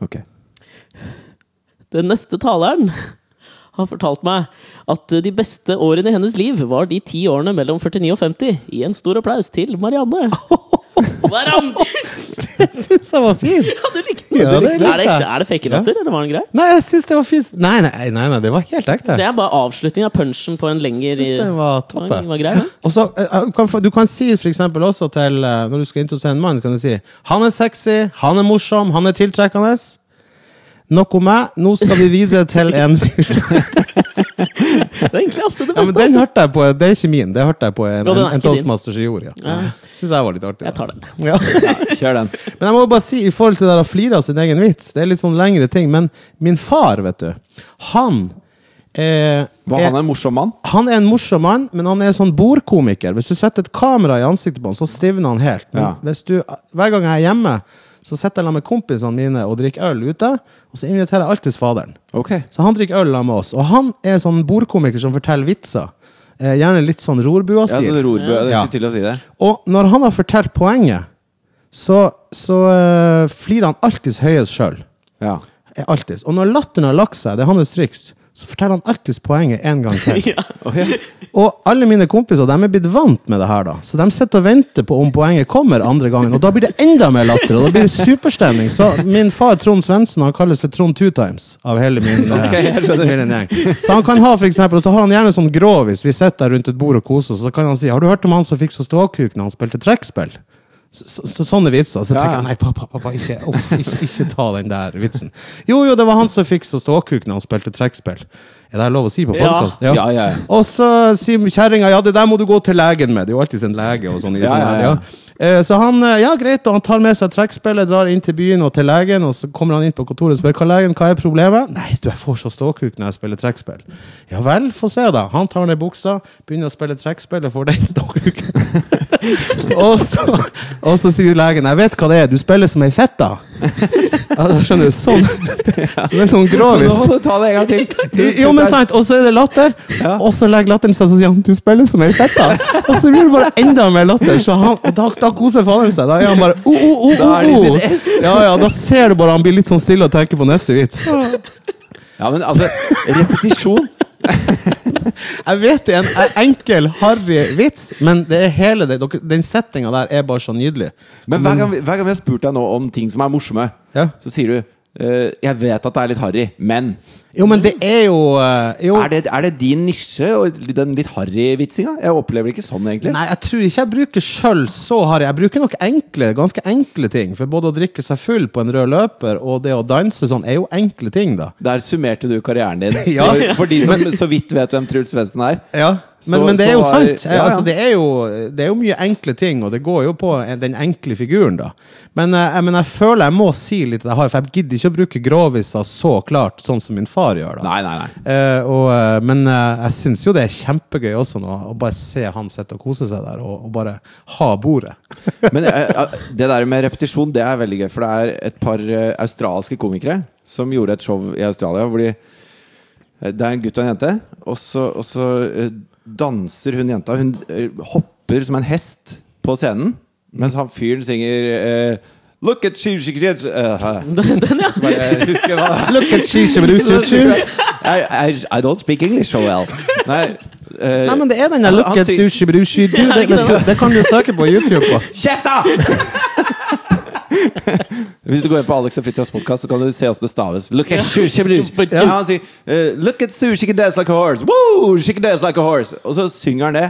A: Ok.
B: Den neste taleren har fortalt meg at de beste årene i hennes liv var de ti årene mellom 49 og 50. Gi en stor applaus til Marianne. Der er Anders!
C: Jeg syns den var fin!
B: Ja, du likte den!
C: Ja,
B: Du
C: det
B: likte den.
C: likte
B: er det ekte?
C: jeg.
B: Er det fake latter, eller var den grei?
C: Nei, jeg syns det var fint. Nei, nei, nei, nei, det var helt ekte.
B: Det er bare avslutning av punchen på en lengre
C: Jeg syns den var toppe.
B: Den var grei, den.
C: Og så, eh, du kan få- du kan si for eksempel også til eh, Når du skal introdusere en mann, kan du si Han er sexy, han er morsom, han er tiltrekkende. Nok om meg. Nå skal vi videre til en fyr
B: Det er egentlig ofte det
C: ja,
B: beste.
C: men
B: altså.
C: Den hørte jeg på. Det er ikke min. Det hørte jeg på en,
B: Ja, den er
C: en,
B: ikke din.
C: en toastmaster som gjorde. Ja.
B: Ja.
C: Syns jeg var litt artig. da.
B: Jeg tar den.
C: Ja.
A: Kjør den.
C: Men jeg må bare si, i forhold til det der å flire av sin egen vits, det er litt sånn lengre ting, men min far, vet du, han eh,
A: Var han
C: er,
A: en morsom mann?
C: han er en morsom mann, men han er sånn bordkomiker. Hvis du setter et kamera i ansiktet på han, så stivner han helt. Men
A: Ja.
C: hvis du, hver gang jeg er hjemme, så sitter jeg sammen med kompisene mine og drikker øl ute, og så inviterer jeg alltid faderen.
A: Ok.
C: Så han drikker øl sammen med oss, og han er sånn bordkomiker som forteller vitser. Eh, gjerne litt sånn
A: Ja, så
C: rorbua-stil.
A: Rorbø, jeg
C: Ja.
A: skulle til å si det.
C: Og når han har fortalt poenget, så, så eh, flirer han alltid høyest sjøl.
A: Ja.
C: Alltid. Og når latteren har lagt seg, det er hans triks, så forteller han alltid poenget en gang til.
B: Ja.
C: Og alle mine kompiser de er blitt vant med det her, da. Så de sitter og venter på om poenget kommer andre gangen. Og da blir det enda mer latter, og da blir det superstemning. Så min far Trond Svendsen han kalles for Trond Two Times av hele min, eh,
A: Ok, jeg skjønner.
C: hele min gjeng. Så han kan ha for eksempel, og så har han gjerne sånn grovis. Vi sitter der rundt et bord og koser oss, og så kan han si 'Har du hørt om han som fikk så ståkuk når han spilte trekkspill?' Så, så, så, sånne vitser. Så
A: Ja.
C: tenker jeg nei, pappa, pappa, ikke, uff, ikke, ikke ta den der vitsen. Jo, jo, det var han som fikk så ståkuk når han spilte trekkspill. Er det her lov å si på
B: Ja.
C: podkast?
A: Ja, ja, ja.
C: Og så sier kjerringa ja, det der må du gå til legen med. Det er jo alltid sin lege. og sånn. i
A: Ja, ja,
C: sånne her,
A: ja.
C: ja. Eh, Så han eh, ja, greit, og han tar med seg trekkspillet, drar inn til byen og til legen. Og så kommer han inn på kontoret og spør hva legen, hva er problemet. Nei, du, jeg får så ståkuk når jeg spiller trekkspill. Ja vel, få se, da. Han tar ned buksa, begynner å spille trekkspill og får den ståkuken. og, så, og så sier legen jeg vet hva det er, du spiller som ei fetta. Ja, da skjønner du, sånn. Det er sånn
A: Nå
C: grovis.
A: må du ta det en gang til.
C: Jo, men sant, Og så er det latter,
A: Ja.
C: og så legger latteren seg og sier han, du spiller som ei fette. Og så blir det bare enda mer latter, så han, og da, da koser faderen seg. Da er han bare oh, oh, oh,
A: Da er det
C: oh,
A: sitt ess.
C: oh. Ja, ja, da ser du bare han blir litt sånn stille og tenker på neste vits.
A: Ja, men altså, repetisjon
C: Jeg vet det er en en enkel, harry vits, men det er hele det, dere- den settinga der er bare så nydelig.
A: Men hver gang, vi- hver gang vi har spurt deg nå om ting som er morsomme,
C: Ja.
A: så sier du eh, Jeg vet at det er litt harry, men
C: Jo, men det er jo, eh, jo
A: er det, er det din nisje, og den litt harry vitsinga? Jeg opplever det ikke sånn, egentlig.
C: Nei, jeg tror ikke jeg bruker sjøl så harry. Jeg bruker nok enkle, ganske enkle ting. For både å drikke seg full på en rød løper og det å danse sånn, er jo enkle ting, da.
A: Der summerte du karrieren din.
C: Ja.
A: For, for de som så vidt vet hvem Truls Svendsen er.
C: Ja, men,
A: Så-
C: men det
A: så
C: er jo
A: var-
C: sant. Eh,
A: ja, ja.
C: Altså, det, er jo, det er jo mye enkle ting, og det går jo på eh, den enkle figuren, da. Men, eh, jeg, men jeg føler jeg må si litt det jeg har, for jeg gidder ikke å bruke groviser så klart, sånn som min far gjør, da.
A: Nei, nei, nei.
C: Eh, og, eh, men eh, jeg syns jo det er kjempegøy også nå, å bare se han sitte og kose seg der, og, og bare ha bordet.
A: Men eh, eh, det der med repetisjon, det er veldig gøy. For det er et par eh, australske komikere som gjorde et show i Australia hvor de eh, Det er en gutt og en jente, og så, og så eh, danser hun jenta. Hun eh, hopper som en hest på scenen, mens han fyren synger eh, Look at she, she, she, uh,
B: Den, ja.
A: Så bare eh, husker jeg hva
C: Look at she's a blue suit shoe.
A: I, I, I don't speak English so well. Nei, eh,
C: Nei, men det er den der
A: Han-
C: 'look
A: han
C: at
A: sier-
C: douche brushi du'. Det,
B: ikke
C: det, det kan du søke på YouTube. på.
A: Kjeft, da! Hvis du går inn på Alex og Fritjofs podcast, så kan du se hvordan det staves. Look at sushi blues. Ja, han sier eh, Look at sushi, she can dance like a horse. Woo, she can dance like a horse. Og så synger han det.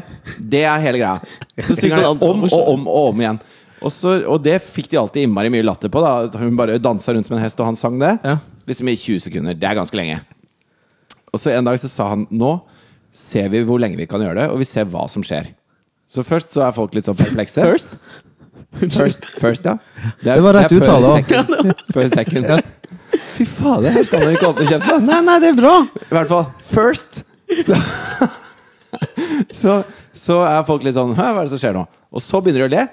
A: Det er hele greia. Så synger han det om og om og om igjen. Og, så, og det fikk de alltid innmari mye latter på. da At Hun bare dansa rundt som en hest, og han sang det.
C: Ja.
A: Liksom i 20 sekunder. Det er ganske lenge. Og så en dag så sa han Nå ser vi hvor lenge vi kan gjøre det, og vi ser hva som skjer. Så først så er folk litt sånn perplekse.
B: First.
A: First, first ja. er-
C: Det var rett
A: er før
C: uttale, da.
A: second. Før second. Fy fader, her skal man ikke åpne kjeften, ass.
C: Nei, nei, det er bra!
A: I hvert fall first, så Så, så er folk litt sånn Hæ, hva er det som skjer nå? Og så begynner de å le.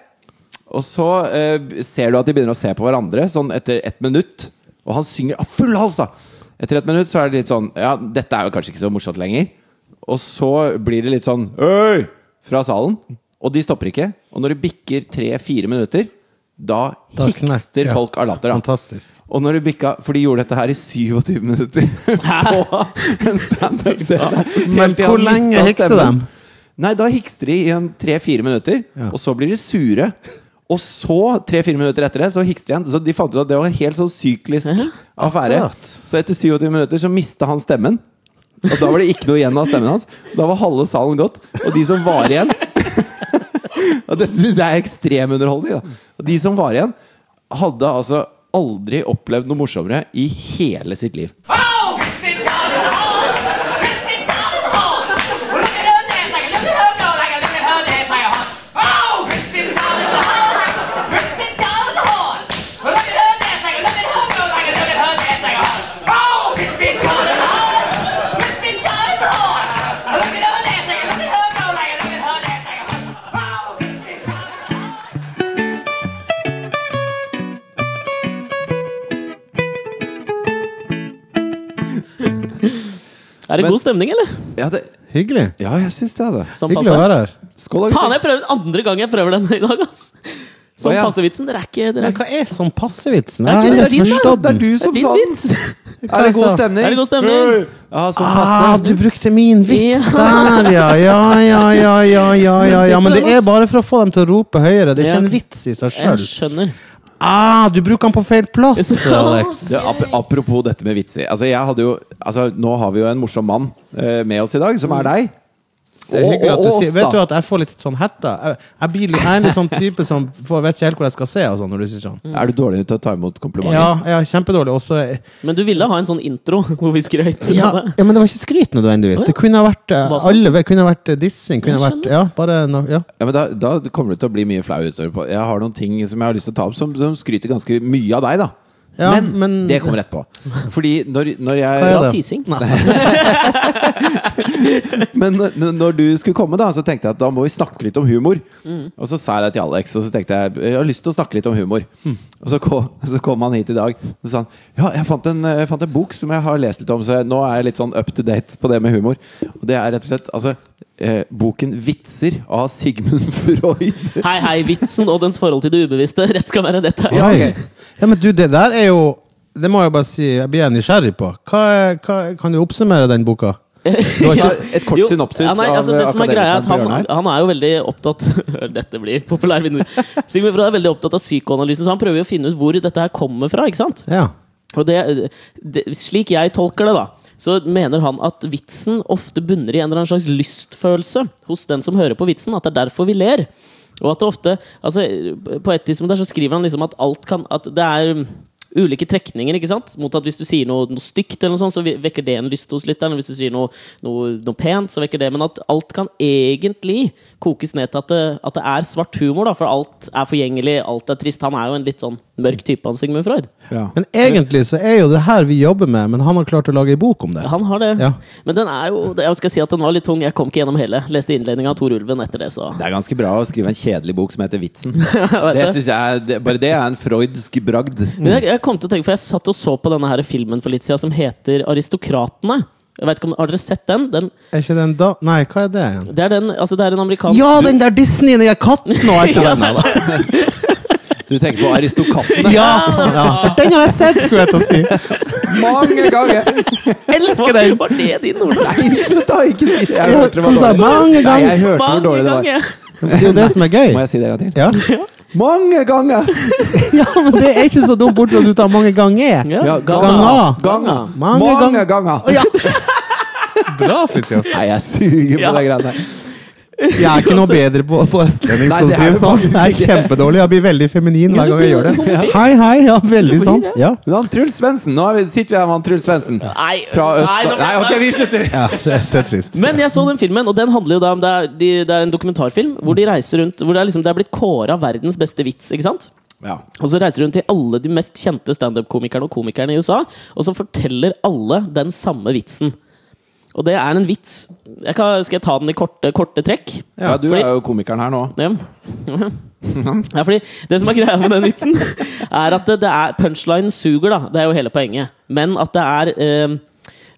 A: Og så eh, ser du at de begynner å se på hverandre sånn etter ett minutt. Og han synger av full hals, da! Etter ett minutt så er det litt sånn Ja, dette er jo kanskje ikke så morsomt lenger. Og så blir det litt sånn Øy! fra salen. Og de stopper ikke. Og når det bikker tre-fire minutter, da,
C: Da knek-
A: hikster
C: ja.
A: folk av latter. da.
C: Fantastisk.
A: Og når det bikka For de gjorde dette her i 27 minutter på en standup-scene.
C: Men
A: Helt til
C: hvor
A: han
C: lenge
A: mistet
C: hikste
A: stemmen.
C: dem?
A: Nei, da hikster de i en tre-fire minutter,
C: Ja.
A: og så blir de sure. Og så, tre-fire minutter etter det, så hikster de igjen. Så de fant ut at det var en helt sånn syklisk affære.
C: Akkurat.
A: Så etter 27 minutter så mista han stemmen. Og da var det ikke noe igjen av stemmen hans. Da var halve salen gått. Og de som var igjen Og dette syns jeg er ekstrem underholdning. Da. Og de som var igjen, hadde altså aldri opplevd noe morsommere i hele sitt liv.
D: Oh, Kristen Thomas Holmes! Kristen Thomas Holmes! Well, look at her dance, like, look at her go, like, look at her dance, like, oh, Kristen Thomas Holmes! Kristen Thomas Holmes! Well, look at her dance, like, look at her go, like, look at her dance, like, oh, Kristen Thomas Holmes! Kristen Thomas Holmes! Well, look at her dance, like, look at her go, like, look at her dance, like, oh, Kristen Thomas Holmes!
B: Er det
A: Men-
B: god stemning, eller?
A: Ja, det,
C: Hyggelig.
A: ja jeg syns det, altså.
B: Sånn
C: Hyggelig å
B: passe.
C: være her.
A: Skål, da,
B: Faen,
A: gutter.
B: jeg prøver andre gang jeg prøver den i dag, ass! Sånn
A: Å, ja.
B: passevitsen. Dere er ikke dere er,
C: Men hva er sånn passevitsen?
B: Er ikke
C: Jeg
B: det
C: har
B: din,
C: ikke
B: da?
C: forstått
A: Det er
C: den.
A: du
B: det er
A: som
B: din
A: sa den!
B: vits!
A: Er det god stemning?
B: Er det god stemning?
A: Hey! Ja, sånn passe.
C: Ah, du brukte min vits der, ja. Ja, ja, ja, ja, ja, ja, ja. Men det er bare for å få dem til å rope høyere. Det er ikke en vits i seg
B: Jeg
C: sjøl.
B: skjønner.
C: Ah, du bruker den på feil plass, Alex.
A: Det, ap apropos dette med vitser. Altså, jeg hadde jo, altså, nå har vi jo en morsom mann eh, med oss i dag, som er deg.
C: Det er
A: Og-
C: hyggelig at
A: og-
C: du
A: og
C: sier
A: oss,
C: Vet du
A: da.
C: at jeg får litt sånn hetta? Jeg, jeg, blir litt, jeg er en litt sånn type som får, vet ikke helt hvor jeg skal se. Og sånn, når du sier sånn.
A: Er du dårlig til å ta imot komplimenter?
C: Ja, ja, kjempedårlig. Og så
B: Men du ville ha en sånn intro hvor vi skrøt.
C: ja,
B: av det.
C: ja, men det var ikke skryt nødvendigvis. Det kunne ha vært eh,
B: Hva som-
C: alle Det kunne ha vært eh, dissing. Kunne ha
B: Jeg
C: vært, ja, bare no, ja.
A: Ja, men da, da kommer du til å bli mye flau utover på Jeg har noen ting som jeg har lyst til å ta opp, som, som skryter ganske mye av deg, da.
C: Ja,
A: men,
C: men-
A: det kommer etterpå. Fordi når, når jeg
C: Hva er
B: Bra
C: det?
B: teasing.
A: Men n- når du skulle komme, da så tenkte jeg at da må vi snakke litt om humor. Og så sa jeg det til Alex, og så tenkte jeg jeg har lyst til å snakke litt om humor. Og så kom, så kom han hit i dag og sa han, ja, jeg fant, en, jeg fant en bok som jeg har lest litt om, så jeg, nå er jeg litt sånn up to date på det med humor. Og det er rett og slett altså, eh, boken 'Vitser' av Sigmund Freud.
B: Hei, hei, vitsen og dens forhold til det ubevisste. Rett skal være rett her.
A: Ja,
C: Oi.
A: ok.
C: ja, men du, det der er jo Det må jeg bare si jeg blir jeg nysgjerrig på. Hva, er- hva, kan du oppsummere den boka? Du har
A: Ja,
C: ikke,
A: et kort
B: Jo,
A: synopsis
B: ja, nei, altså,
A: av eh,
B: det som er greia er
A: akademikeren
B: at han,
A: Bjørnar.
B: han er jo veldig opptatt Hør, Dette blir populær vindu. Sigmund Freud er veldig opptatt av psykoanalysen, så han prøver jo å finne ut hvor dette her kommer fra. ikke sant?
C: ja.
B: Og det, det, slik jeg tolker det, da, så mener han at vitsen ofte bunner i en eller annen slags lystfølelse hos den som hører på vitsen. At det er derfor vi ler. Og at det ofte altså, På et tidspunkt der så skriver han liksom at alt kan At det er ulike trekninger, ikke sant? Mot at hvis du sier noe, noe stygt, eller noe sånt, så vi- vekker det en lyst hos lytteren. Hvis du sier noe, noe, noe pent, så vekker det Men at alt kan egentlig kokes ned til at det, at det er svart humor, da. For alt er forgjengelig, alt er trist. Han er jo en litt sånn mørk type, han Sigmund Freud.
A: Ja.
C: Men egentlig så er jo det her vi jobber med, men han har klart å lage ei bok om det.
B: Han har det.
C: Ja.
B: Men den er jo, jeg skal si at den var litt tung. Jeg kom ikke gjennom hele. Leste innledninga av Tor Ulven etter det, så
A: Det er ganske bra å skrive en kjedelig bok som heter 'Vitsen'. Det synes jeg, det, bare det er en freudsk bragd.
B: Men jeg, jeg kom til å tenke, for jeg satt og så på denne her filmen for litt siden som heter 'Aristokratene'. Jeg vet ikke om, Har dere sett den? den
C: Er ikke den da Nei, hva er det igjen?
B: det er den, altså det er en amerikansk
C: Ja, den der Disney, den der katten og alt det der! med, da.
A: Du tenker på Aristokattene
C: Ja, faen, ja, for den har jeg sett, skulle jeg til å si!
A: mange ganger!
B: Elsker den! Var det din ordløsning?
A: Nei, slutt, da! Ikke si det! Jeg hørte det var
C: Kosa
A: dårlig. Nei,
C: mange
A: jeg
C: ganger.
A: hørte hvor dårlig det var.
B: ganger!
C: Det er jo det som er gøy.
A: Må jeg si det en gang til?
C: Ja.
A: Mange ganger!
C: ja, men det er ikke så dumt, bortsett fra at du tar mange ganger.
B: Ja,
A: Ja,
C: ganger.
A: Ganger!
C: Mange
A: Mange
C: ganger.
A: ganger!
C: Ja. Bra, Fridtjof.
A: Nei, jeg suger på
B: Ja.
A: de greiene der.
C: Jeg er ikke noe bedre på, på østlending,
A: Nei,
C: for å
A: det
C: si
A: er
C: det
A: du
C: sånn.
A: faktisk
C: Jeg er
A: ikke.
C: kjempedårlig. Jeg blir veldig feminin hver gang jeg gjør det. Hei, hei. Ja, veldig sånn. Ja.
A: Men han Truls Svendsen, nå er vi, sitter vi her med han Truls Svendsen.
B: Nei,
A: Fra
B: nei,
A: Øst...
B: nå-
A: Nei, ok, vi slutter!
C: Ja, det, det er trist.
B: Men jeg så den filmen, og den handler jo da om Det er, de, det er en dokumentarfilm hvor de reiser rundt Hvor det er, liksom, det er blitt kåra verdens beste vits, ikke sant?
A: Ja.
B: Og så reiser hun til alle de mest kjente standup-komikerne og komikerne i USA, og så forteller alle den samme vitsen. Og det er en vits. Jeg kan, skal jeg ta den i korte, korte trekk?
A: Ja, du
B: fordi-
A: er jo komikeren her nå.
B: Ja. ja, fordi Det som er greia med den vitsen, er at det, det er punchline suger, da. Det er jo hele poenget. Men at det er eh,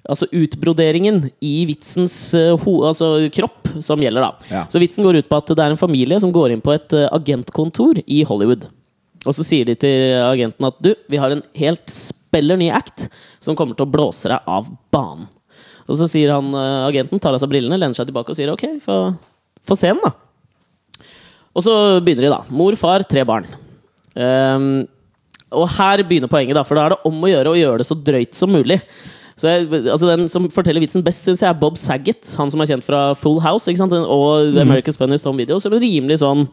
B: altså utbroderingen i vitsens eh, ho altså kropp som gjelder, da.
A: Ja.
B: Så vitsen går ut på at det er en familie som går inn på et eh, agentkontor i Hollywood. Og så sier de til agenten at du, vi har en helt speller ny act som kommer til å blåse deg av banen. Og så sier han, eh, agenten, tar av seg brillene, lener seg tilbake og sier ok, få få se den, da. Og så begynner de, da. Mor, far, tre barn. Ehm, og her begynner poenget, da, for da er det om å gjøre å gjøre det så drøyt som mulig. Så jeg, altså Den som forteller vitsen best, syns jeg er Bob Saget. Han som er kjent fra Full House ikke sant? og America's Funniest Home Video. Som en rimelig sånn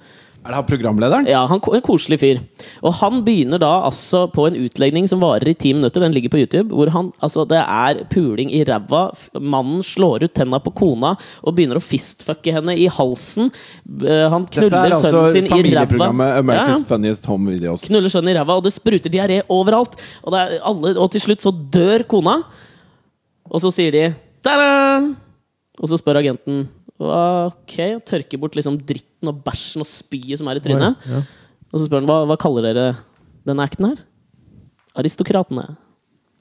A: Er det han programlederen?
B: ja, han, En koselig fyr. Og han begynner da altså på en utlegning som varer i ti minutter. Den ligger på YouTube. Hvor han, altså Det er puling i ræva. f- Mannen slår ut tenna på kona og begynner å fistfucke henne i halsen. B- eh, Han
A: Dette
B: knuller
A: er altså
B: sønnen sin i ræva.
A: familieprogrammet
B: Ja, ja.
A: America's Funniest Home Videos.
B: Knuller sønnen i ræva, og det spruter diaré overalt. Og, det er alle, og til slutt så dør kona. Og så sier de Ta-da! Og så spør agenten Ok, og tørker bort liksom dritten og bæsjen og spyet som er i trynet.
C: Oi, ja.
B: Og så spør han hva, hva kaller dere denne acten her? Aristokratene.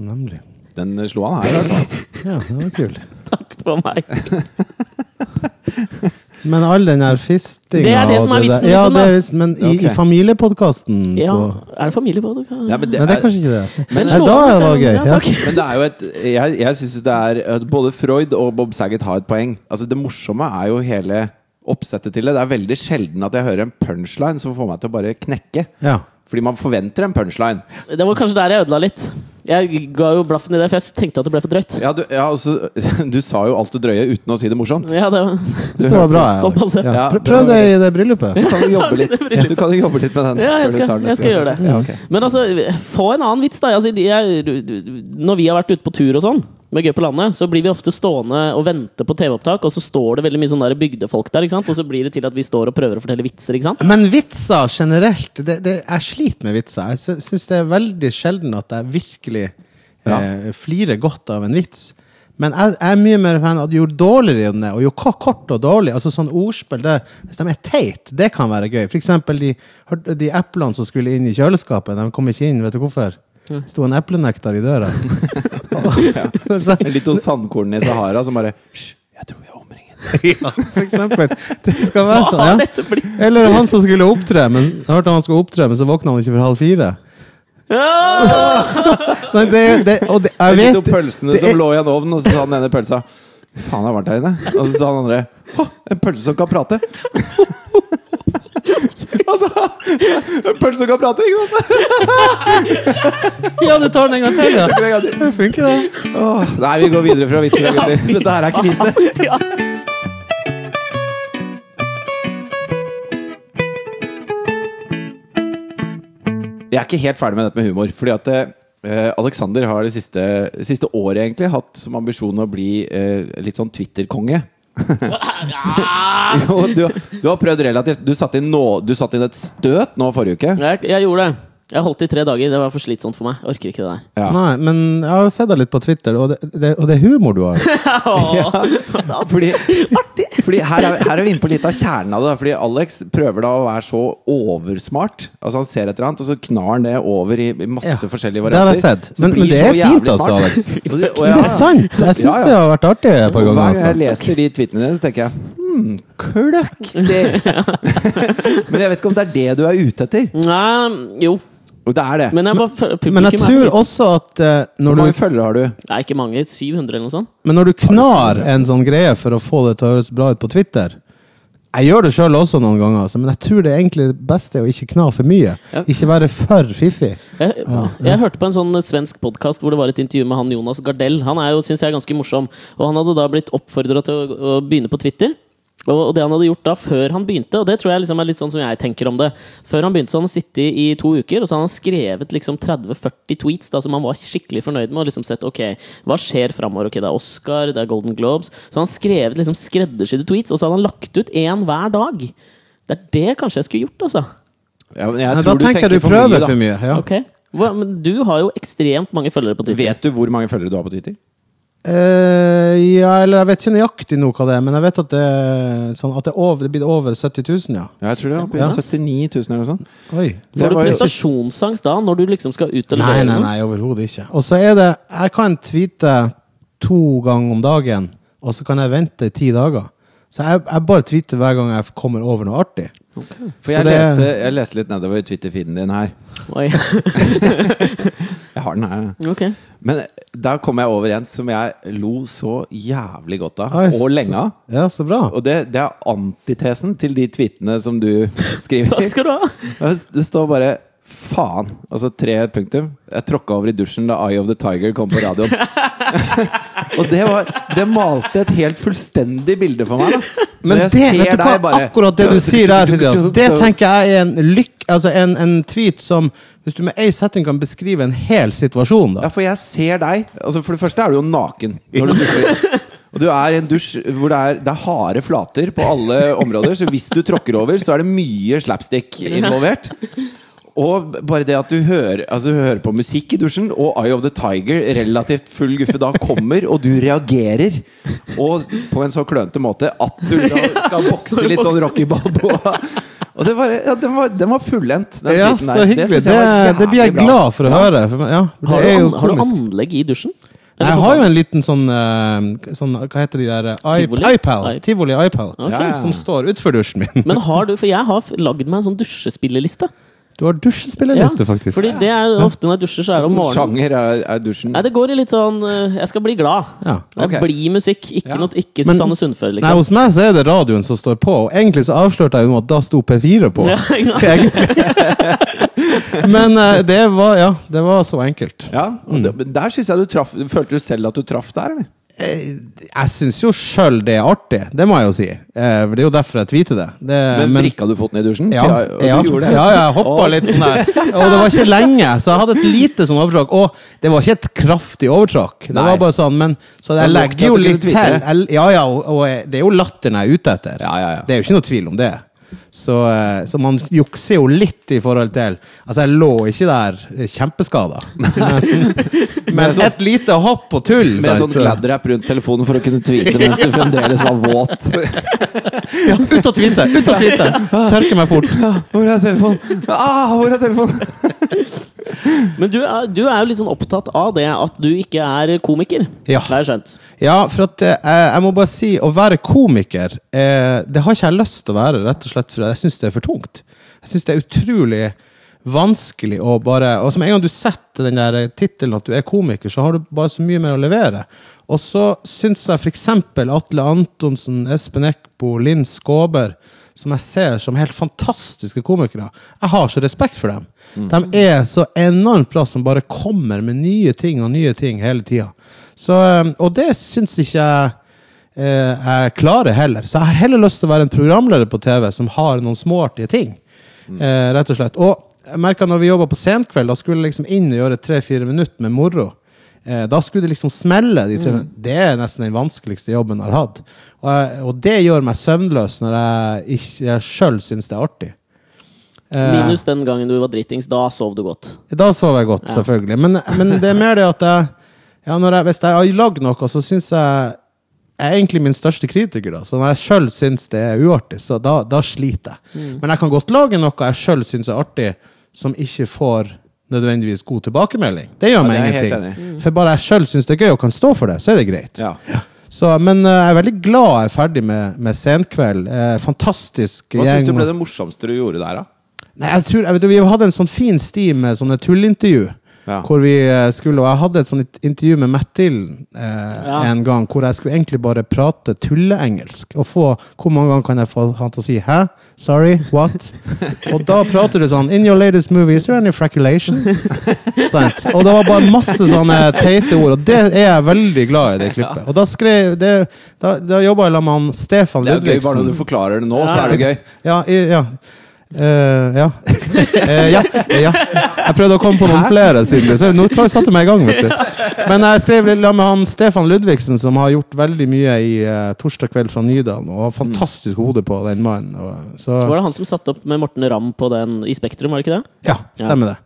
C: Nemlig.
A: Den slo han her. altså.
C: Ja, det var kul.
B: Takk for meg.
C: Men all den der fistinga
B: Det er det
C: og
B: som er vitsen,
C: der-
B: liksom,
C: Ja, det
B: da.
C: er vitsen, men i, i
A: Ok.
C: familiepodkasten
B: Ja,
C: på-
B: er det familie på det?
A: Ja, men det
C: Nei, det er
A: er,
C: kanskje ikke det.
B: Men
C: Nei, da
B: slå-
C: var det
B: Ja,
C: gøy. Ja.
B: takk.
A: men det er jo et Jeg, jeg syns jo det er at Både Freud og Bob Saget har et poeng. Altså Det morsomme er jo hele oppsettet til det. Det er veldig sjelden at jeg hører en punchline som får meg til å bare knekke.
C: Ja.
A: Fordi man forventer en punchline.
B: Det var kanskje der jeg ødela litt. Jeg ga jo blaffen i det, for jeg tenkte at det ble for drøyt.
A: Ja, du, ja, altså, du sa jo alt det drøye uten å si det morsomt.
B: Ja, det var...
C: Det var bra.
B: Sånn
C: Alex.
B: passe.
C: Ja.
A: Ja,
C: Prøv-
A: det
C: Prøv
A: var
C: det i det bryllupet.
A: Du kan jo jobbe litt,
B: Det er
A: du kan jo jobbe litt med den.
B: Ja,
A: før
B: jeg
A: du tar
B: skal,
A: den
B: jeg skal
A: neste
B: gjøre
A: gang.
B: det.
A: Ja, ok.
B: Men altså, få en annen vits, da. Altså, de- jeg, når vi har vært ute på tur og sånn, med Gøy på landet, så blir vi ofte stående og vente på TV-opptak, og så står det veldig mye sånne der bygdefolk der, ikke sant? og så blir det til at vi står og prøver å fortelle vitser, ikke sant?
C: Men vitser generelt det, det, Jeg sliter med vitser. Jeg sy- syns det er veldig sjelden at jeg virkelig
A: Ja.
C: eh, flirer godt av en vits. Men jeg, jeg er mye mer fan av at jo dårligere den er, og jo ko- kort og dårlig altså sånn ordspill det, Hvis de er teit, det kan være gøy. For eksempel de, hørte- de eplene som skulle inn i kjøleskapet. De kom ikke inn, vet du hvorfor? Det sto en eplenektar i døra. Så-
A: En Litt hos sandkornene i Sahara som bare Hysj, jeg tror vi er omringet.
C: ja, for eksempel. Det skal være
B: Hva
C: sånn.
B: har
C: Ja.
B: dette blitt?
C: Eller han som skulle opptre, men jeg hørte han skulle opptre, men så våkna han ikke før halv fire.
B: Ja!
C: Så det, det, og det, jeg
A: De to
C: vet
A: pølsene
C: det er-
A: som lå i en ovn, og så sa den ene pølsa Fy faen, det er varmt her inne. Og så sa den andre Å, en pølse som kan prate. altså En pølse som kan prate, ikke sant?
C: Ja, du tar den en gang til, ja.
A: Det er gøy.
C: Det funker, det.
A: Åh, nei, vi går videre fra vitser og gutter. Dette her er krisene.
B: ja.
A: Jeg er ikke helt ferdig med dette med humor. Fordi at eh, Alexander har det siste, siste året egentlig hatt som ambisjon å bli eh, litt sånn Twitter-konge. Jo, du, du har prøvd relativt. Du satte inn, nå, du satt inn et støt nå forrige uke.
B: Jeg, jeg gjorde det. Jeg holdt i tre dager. Det var for slitsomt for meg. Jeg orker ikke det der.
A: Ja.
C: Nei, men jeg har sett deg litt på Twitter, og det, det, og det er humor du har.
A: Fordi, fordi her, er, her er vi inne på litt av kjernen av det. da. Fordi Alex prøver da å være så oversmart. Altså Han ser et eller annet, og så knar han det over i i masse
C: Ja,
A: forskjellige
C: det har
A: varianter.
C: jeg sett.
A: Så
C: Men-
A: blir
C: men det
A: så
C: er fint
A: jævlig
C: altså,
A: smart.
C: Alex.
A: Og det- og
C: Men det er
A: ja,
C: sant! Jeg syns
A: Ja, ja.
C: det har vært artig et par
A: Og Hver gang
C: ganger.
A: jeg
C: Altså.
A: leser de tweetene dine, så tenker jeg hmm, kløktig! Men jeg vet ikke om det er det du er ute etter.
B: Nei, jo.
A: Og det er det.
B: Men jeg bare publikum
C: Men jeg
B: er
C: tror
B: for-
C: også at eh,
A: Hvor
C: når
A: mange
C: du,
A: følgere har du?
B: Nei, ikke mange. 700 eller noe sånt.
C: men når du knar en sånn greie for å få det til å høres bra ut på Twitter jeg gjør det sjøl også noen ganger, altså, men jeg tror det er egentlig det beste er å ikke kna for mye.
B: Ja.
C: Ikke være for fiffig.
B: Jeg, jeg hørte på en sånn eh, svensk podkast hvor det var et intervju med han Jonas Gardell. Han er jo, synes jeg, ganske morsom. Og han hadde da blitt oppfordra til å, å begynne på Twitter. Og og det han hadde gjort da før han begynte, og det tror jeg liksom er litt sånn som jeg tenker om det Før han begynte så hadde han sittet i to uker, og så hadde han skrevet liksom 30-40 tweets da som han var skikkelig fornøyd med, og liksom sett ok, hva skjer framover? Ok, det er Oscar, det er Golden Globes Så hadde han skrevet liksom skreddersydde tweets, og så hadde han lagt ut én hver dag. Det er det kanskje jeg skulle gjort, altså.
A: Ja, men jeg
C: Nei,
A: tror
C: da tenker jeg du prøver
A: da.
C: for mye. Ja.
B: Ok Hva, Men du har jo ekstremt mange følgere på Twitter.
A: Vet du hvor mange følgere du har på Twitter?
C: Eh, ja, eller jeg vet ikke nøyaktig nå hva det er, men jeg vet at det, er sånn, at det, er over, det blir over 70 000, ja.
A: Ja, jeg tror det var
C: Ja.
A: på 79 000 eller noe sånt.
C: Oi.
A: Det
B: Får du
A: var jo-
B: prestasjonsangst da, når du liksom skal ut og
C: Nei,
B: levere
C: nei,
B: noe?
C: nei, overhodet ikke. Og så er det Jeg kan tweete to ganger om dagen, og så kan jeg vente i ti dager. Så jeg, jeg bare tweeter hver gang jeg kommer over noe artig.
A: For
C: Så
A: jeg,
C: det-
A: leste, jeg leste litt nedover Twitter-feeden din her.
B: Oi.
A: Jeg har den her.
B: Ok.
A: Men da kom jeg over en som jeg lo så jævlig godt av,
C: Oi,
A: og
C: så-
A: lenge av.
C: Ja, så bra.
A: Og det, det er antitesen til de tweetene som du
B: Takk
A: skriver.
B: skal du ha.
A: Det står bare 'faen', altså tre punktum. Jeg tråkka over i dusjen da 'Eye of the Tiger' kom på radioen. og det var Det malte et helt fullstendig bilde for meg, da.
C: Men
A: Når
C: det,
A: jeg ser
C: vet du hva,
A: deg bare-
C: akkurat det du sier der, Fridtjof, det tenker jeg er en lykk... Altså en, en tweet som Hvis du med ei setting kan beskrive en hel situasjon,
A: Ja,
C: da.
A: for jeg ser deg altså For det første er du jo naken når du dusjer. Og du er i en dusj hvor det er, det er harde flater på alle områder, så hvis du tråkker over, så er det mye slapstick involvert. Og bare det at du hører, altså, du hører på musikk i dusjen, og Eye of the Tiger, relativt full guffe, da kommer, og du reagerer. Og på en så klønete måte at du da skal bokse litt sånn Rocky Balboa. Og det var, ja, den var, den var fullendt, den
C: Ja,
A: tweeten
C: så
A: der. Det
C: hyggelig.
A: synes
C: Det,
A: jeg var
C: det blir jeg
A: jævlig bra.
C: glad for å høre. For, ja, det
B: Har du,
C: er jo
B: an, har du
C: komisk.
B: anlegg i dusjen?
C: Nei, jeg har jo en liten sånn, eh, sånn Hva heter de der? eh, iP-
B: Tivoli?
C: iPal.
B: I-
C: Tivoli iPal.
A: Ja, ja.
C: Som står utenfor dusjen min.
B: Men har du, for jeg har f- lagd meg en sånn dusjespilleliste.
C: Du har dusjespillerliste, faktisk. Sånn
B: Fordi det er ofte når jeg dusjer, så er det om
A: Hvilken
B: morgenen.
A: sjanger er, er dusjen?
B: Nei, det går i litt sånn eh, Jeg skal bli glad.
C: Ja,
A: ok.
B: Det er blid musikk. Ikke
A: Ja.
B: noe ikke
C: Men-
B: Susanne Sundfør,
C: Nei,
B: liksom.
C: hos meg så er det radioen som står på, og egentlig så avslørte jeg jo nå at da sto P4 på.
B: Ja, ikke sant?
C: Egentlig. Men eh, det var Ja, det var så enkelt.
A: Ja, og det, men der synes jeg du traff Følte du selv at du traff der, eller?
C: Eh, Jeg syns jo sjøl det er artig, det må jeg jo si. Eh, for Det er jo derfor jeg tweeter det. det
A: Men, vrikka du foten i dusjen?
C: Ja,
A: og du
C: ja,
A: gjorde det.
C: ja, jeg hoppa
A: Og-
C: litt sånn der. Og det var ikke lenge, så jeg hadde et lite sånn overtråkk. Og det var ikke et kraftig overtråkk. Det
A: Nei.
C: var bare sånn, men Så
A: Det er
C: jeg
A: nok til
C: legger jo
A: at du
C: litt
A: kunne
C: til.
A: tweete det.
C: Jeg- Ja, ja, og, og jeg- det er jo latteren jeg er ute etter.
A: Ja, ja, ja.
C: Det er jo ikke noe tvil om det. Så, eh, så man jukser jo litt i forhold til Altså, jeg lå ikke der eh, kjempeskada. Men, men et lite hopp og tull.
A: Med
C: sant?
A: sånn gladrap rundt telefonen for å kunne tweete mens du fremdeles var våt.
C: Ja, ut og tvinte! Ut og tvinte! Tørke meg fort.
A: Hvor er telefonen? Ah, hvor er telefonen?
B: Men du er, du er jo litt sånn opptatt av det at du ikke er komiker.
C: Ja.
B: Det har jeg skjønt.
C: Ja, for at eh, jeg må bare si å være komiker, eh, det har ikke jeg lyst til å være, rett og slett, for jeg syns det er for tungt. Jeg syns det er utrolig vanskelig å bare Og som en gang du setter den der tittelen at du er komiker, så har du bare så mye mer å levere. Og så syns jeg f.eks. Atle Antonsen, Espen Eckbo, Linn Skåber, som jeg ser som helt fantastiske komikere. Jeg har så respekt for dem. De er så enormt bra som bare kommer med nye ting og nye ting hele tida. Så, eh, Og det syns ikke jeg eh, jeg klarer heller. Så jeg har heller lyst til å være en programleder på TV som har noen småartige ting. Eh, rett og slett. Og jeg merket når vi jobba på Senkveld, da skulle jeg liksom inn og gjøre tre-fire minutter med moro. Eh, da skulle det liksom smelle. De tre, Det er nesten den vanskeligste jobben jeg har hatt. Og, jeg, og det gjør meg søvnløs når jeg, ikke- jeg sjøl syns det er artig. Eh,
B: Minus den gangen du var dritings. Da sov du godt.
C: da sov jeg godt, selvfølgelig. Men, men det er mer det at jeg, ja, når jeg, hvis jeg har lagd noe, så syns jeg jeg er egentlig min største kritiker. da, Så når jeg sjøl syns det er uartig, så da, da sliter jeg.
A: Mm.
C: Men jeg kan godt lage noe jeg sjøl syns er artig, som ikke får nødvendigvis god tilbakemelding. Det gjør meg
A: det er jeg helt Mm.
C: ingenting. For bare jeg sjøl syns det er gøy og kan stå for det, så er det greit.
A: Ja.
C: Så, men eh, jeg er veldig glad jeg er ferdig med, med Senkveld. Eh, fantastisk
A: Hva syns
C: gjeng.
A: du ble det morsomste du gjorde der, da?
C: Nei, jeg tror, jeg vet, Vi hadde en sånn fin sti med sånne tullintervju.
A: Ja.
C: Hvor vi eh, skulle, og Jeg hadde et sånt intervju med Matt Dillon eh,
B: Ja.
C: en gang, hvor jeg skulle egentlig bare prate tulleengelsk. Og få, hvor mange ganger kan jeg få han til å si 'hæ? Sorry? What?' og da prater du sånn 'In your latest movie, is there any fraculation?' Sant? Og det var bare masse sånne teite ord, og det er jeg veldig glad i, det klippet. Og da skrev det, Da, da jobba jeg sammen med han Stefan
A: Det er jo gøy
C: Ludvigsen.
A: bare når du forklarer det nå, så er det gøy.
C: Ja, i, ja. Eh, ja. Eh, ja. ja. Jeg prøvde å komme på noen flere, siden du så Nå tror jeg satte meg i gang, vet du. Men jeg skrev litt sammen med han Stefan Ludvigsen, som har gjort veldig mye i eh, 'Torsdag kveld fra Nydalen', og har fantastisk hode på den mannen. Og, så
B: Var det han som satte opp med Morten Ramm på den i Spektrum, var det ikke det?
C: ja, stemmer det.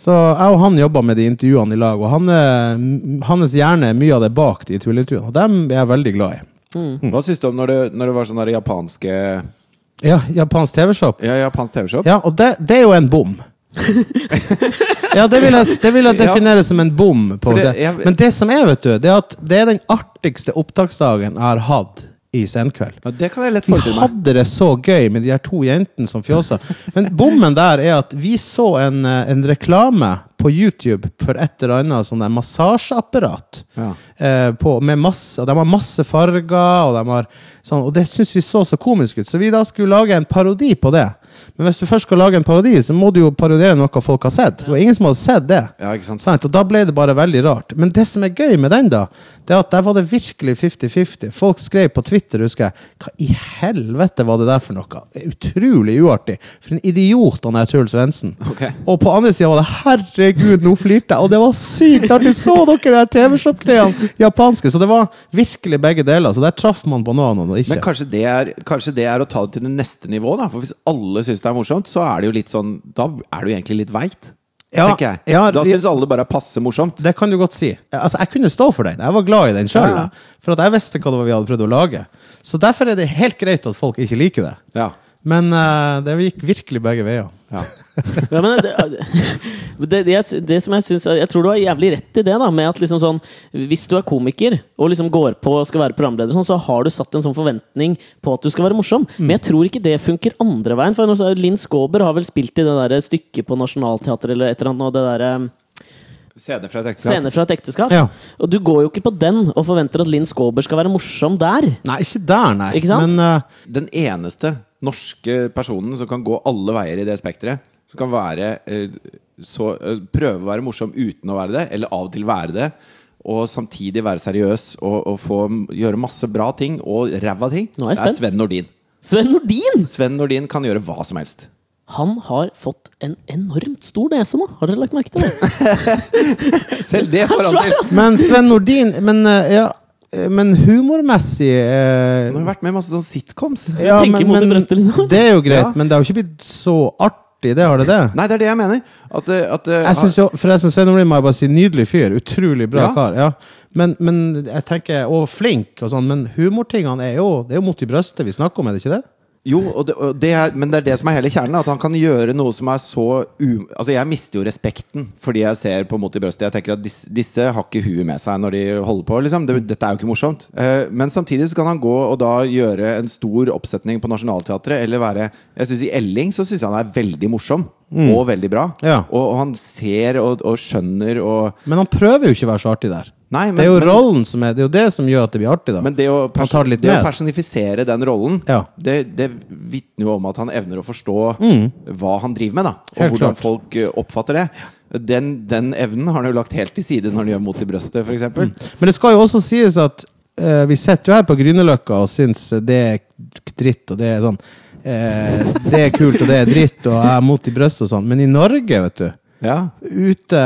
C: Så jeg og han jobba med de intervjuene i lag, og han, eh, hans hjerne er mye av det bak de tullintervjuene, og dem er jeg veldig glad i.
A: Hva syns du om når det, når det var sånn der japanske
C: Ja, japansk TV-shop.
A: Ja, japansk TV-shop?
C: Ja, og det, det er jo en bom. ja, det vil, jeg, det vil jeg definere som en bom. På
A: For det-
C: det,
A: jeg-
C: Men det som er, vet du, det er at det er den artigste opptaksdagen jeg har hatt i Senkveld.
A: Ja, det kan jeg lett
C: Vi
A: forestille meg.
C: hadde det så gøy med de her to jentene som fjosa. Men bommen der er at vi så en, eh, en reklame på YouTube for et eller annet sånn der massasjeapparat.
A: Ja.
C: Eh, på, med masse, og de har masse farger, og, de har, sånn, og det syns vi så så komisk ut. Så vi da skulle lage en parodi på det. Men hvis du først skal lage en parodi, så må du jo parodiere noe folk har sett. Og ingen som hadde sett det.
A: Ja, ikke sant?
C: Sant? Og da ble det bare veldig rart. Men det som er gøy med den, da, det er at der var det virkelig 50-50. Folk skrev på Twitter, husker jeg, hva i helvete var det der for noe? Det er utrolig uartig. For en idiot han er, Truls Svendsen.
A: Ok.
C: Og på andre sida var det 'herregud, nå flirte jeg', og det var sykt artig! Så dere de TV-shop-greiene? Japanske. Så det var virkelig begge deler. Så der traff man på noen og
A: Men
C: ikke.
A: kanskje det, er, kanskje det er å ta det til det neste nivået, da. For hvis alle syns det er morsomt, så er det jo litt sånn Da er det jo egentlig litt veit.
C: Ja,
A: tenker jeg.
C: ja,
A: da
C: vi-
A: syns alle bare er passe morsomt.
C: Det kan du godt si. Altså, jeg kunne stå for den. Jeg var glad i den sjøl.
A: Ja, ja.
C: For at jeg visste hva det var vi hadde prøvd å lage. Så derfor er det helt greit at folk ikke liker det.
A: Ja.
C: Men eh, det gikk virkelig begge veier.
A: ja.
B: Ja, men det, det, det, jeg sy- det som Jeg synes, jeg tror du har jævlig rett i det. da med at liksom sånn, Hvis du er komiker og liksom går på og skal være programleder, sånn, så har du satt en sånn forventning på at du skal være morsom. Men jeg tror ikke det funker andre veien. For nå så er Linn Skåber har vel spilt i det der stykket på Nationaltheatret eller et eller annet. nå, det der, eh,
A: Scener fra et ekteskap.
B: Scener fra et ekteskap.
C: Ja.
B: Og du går jo ikke på den og forventer at Linn Skåber skal være morsom der.
C: Nei, ikke der, nei.
B: Ikke sant?
C: Men eh,
A: Den eneste norske personen som kan gå alle veier i det spekteret, som kan være eh, så, eh, prøve å være morsom uten å være det, eller av og til være det, og samtidig være seriøs og, og få gjøre masse bra ting og ræva ting,
B: Nå er jeg
A: det er
B: spent.
A: Sven Nordin.
B: Sven Nordin!
A: Sven Nordin kan gjøre hva som helst.
B: Han har fått en enormt stor nese nå. Har dere lagt merke til det?
A: Selv det får han
B: Svær,
A: til!
B: ass!
C: Men Sven Nordin Men, eh, ja, eh, men humormessig eh,
A: Han har vært med i masse sånne sitcoms.
C: ja,
B: tenker mot i brøstet, liksom.
C: Det er jo greit,
A: Ja.
C: men det har jo ikke blitt så artig, det har det det?
A: Nei, det er det jeg mener. At, eh, at, eh,
C: Jeg synes jo, Forresten, Sven Nordin må jeg bare si nydelig fyr. Utrolig bra
A: Ja.
C: kar. ja men, men jeg tenker, Og flink og sånn, men humortingene er jo Det er jo mot i brøstet vi snakker om, er det ikke det?
A: Jo, og det, og det er, men det er det som er hele kjernen. At han kan gjøre noe som er så u... Altså, jeg mister jo respekten fordi jeg ser på Mot i brøstet. Jeg tenker at disse, disse har ikke huet med seg når de holder på, liksom. Det, dette er jo ikke morsomt. Eh, men samtidig så kan han gå og da gjøre en stor oppsetning på Nationaltheatret, eller være Jeg synes i Elling så syns jeg han er veldig morsom. Og veldig bra.
C: Mm. Ja.
A: Og, og han ser og, og skjønner og
C: Men han prøver jo ikke å være så artig der.
A: Nei, men-
C: det er jo
A: men-
C: rollen som er Det er jo det som gjør at det blir artig, da.
A: Men det å,
C: Han
A: perso
C: tar det litt
A: det å
C: ned.
A: personifisere den rollen,
C: Ja.
A: det, det vitner jo om at han evner å forstå hva han driver med, da. Og
C: Mm. Helt
A: hvordan
C: klart.
A: folk eh, oppfatter det. Den, den evnen har han jo lagt helt til side når han gjør mot i brøstet, f.eks. eksempel
C: Men det skal jo også sies at eh, vi sitter jo her på Grünerløkka og syns det er dritt, og det er sånn eh, Det er kult, og det er dritt, og jeg er mot i brystet og sånn. Men i Norge, vet du
A: Ja.
C: Ute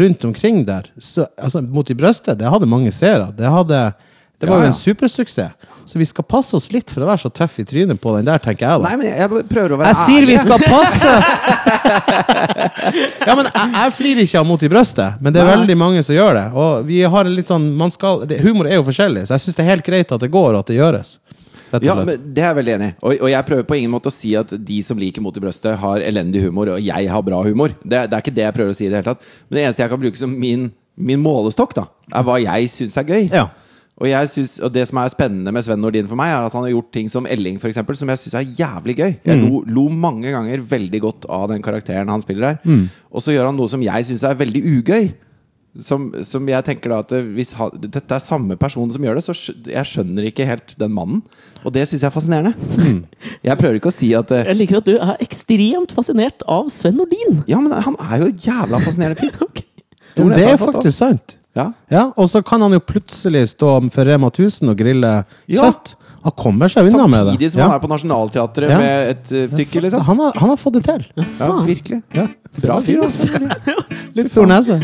C: rundt omkring der, så, altså mot i brystet, det hadde mange seere. Det, hadde, det
A: Ja,
C: var jo
A: ja.
C: en supersuksess. Så vi skal passe oss litt for å være så tøff i trynet på den der, tenker jeg da.
A: Nei, men jeg- jeg prøver å være
C: Jeg sier vi skal passe! ja, men jeg, jeg flirer ikke av mot i brøstet, men det er
A: Nei.
C: veldig mange som gjør det. Og vi har en litt sånn man skal, det, Humor er jo forskjellig, så jeg syns det er helt greit at det går, og at det gjøres. Rett og
A: Ja,
C: slett.
A: men Det er jeg veldig enig i. Og, og jeg prøver på ingen måte å si at de som liker Mot i brøstet, har elendig humor, og jeg har bra humor. Det, det er ikke det jeg prøver å si i det hele tatt. Men det eneste jeg kan bruke som min, min målestokk, da, er hva jeg syns er gøy.
C: Ja.
A: Og, jeg synes, og det som er spennende med Sven Nordin for meg, er at han har gjort ting som Elling, for eksempel, som jeg syns er jævlig gøy.
C: Mm.
A: Jeg lo, lo mange ganger veldig godt av den karakteren han spiller her.
C: Mm.
A: Og så gjør han noe som jeg syns er veldig ugøy. Som, som jeg tenker da at det- hvis ha, dette er samme person som gjør det, så skj jeg skjønner ikke helt den mannen. Og det syns jeg er fascinerende.
C: Hmm.
A: Jeg prøver ikke å si at eh,
B: Jeg liker at du er ekstremt fascinert av Sven Nordin.
A: Ja, men han er jo en jævla fascinerende fyr.
B: Ok.
A: Stor
C: Men det
A: nese
C: er
A: har
C: jo
A: fått,
C: faktisk sant.
A: Ja.
C: Ja, Og så kan han jo plutselig stå for Rema 1000 og grille
A: Ja.
C: kjøtt. Han kommer seg unna med det.
A: Samtidig som
C: Ja.
A: han er på Nationaltheatret
C: Ja.
A: med et eh, stykke, liksom.
C: han, har, han har fått det til.
A: Ja, virkelig.
C: Ja.
A: Bra fyr, altså.
C: Litt stor nese.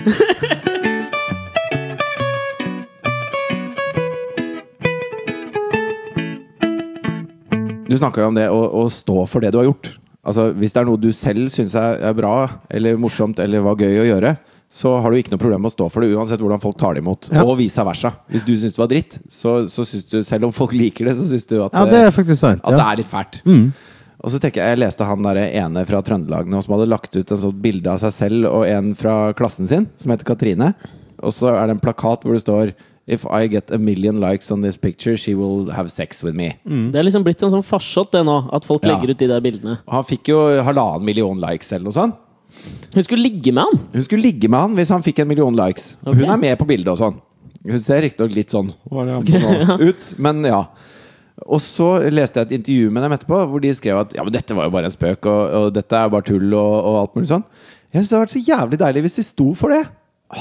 A: Du snakka jo om det å, å stå for det du har gjort. Altså, Hvis det er noe du selv syns er, er bra eller morsomt eller var gøy å gjøre, så har du ikke noe problem med å stå for det, uansett hvordan folk tar det imot.
C: Ja.
A: Og vice versa. Hvis du syns det var dritt, så, så syns du, selv om folk liker det, så syns du at, eh,
C: Ja, det er faktisk sant.
A: at det
C: Ja. Mm.
A: er litt fælt. Og så tenker Jeg jeg leste han der ene fra Trøndelag nå som hadde lagt ut en sånn bilde av seg selv og en fra klassen sin, som heter Katrine. Og så er det en plakat hvor det står If I get a million likes on this picture, she will have sex with me.
B: Det er liksom blitt en sånn farsott, det nå, at folk
A: Mm. Ja.
B: legger ut de der bildene.
A: Og Han fikk jo halvannen million likes eller noe sånt.
B: Hun skulle ligge med han!
A: Hun skulle ligge med han hvis han fikk en million likes. Og
B: Ok.
A: Hun er med på bildet og sånn. Hun ser riktignok litt sånn hva er det han på nå? ut, men ja. Og så leste jeg et intervju med dem etterpå, hvor de skrev at ja, men dette var jo bare en spøk, og, og dette er bare tull og, og alt mulig sånn. Jeg syns det hadde vært så jævlig deilig hvis de sto for det.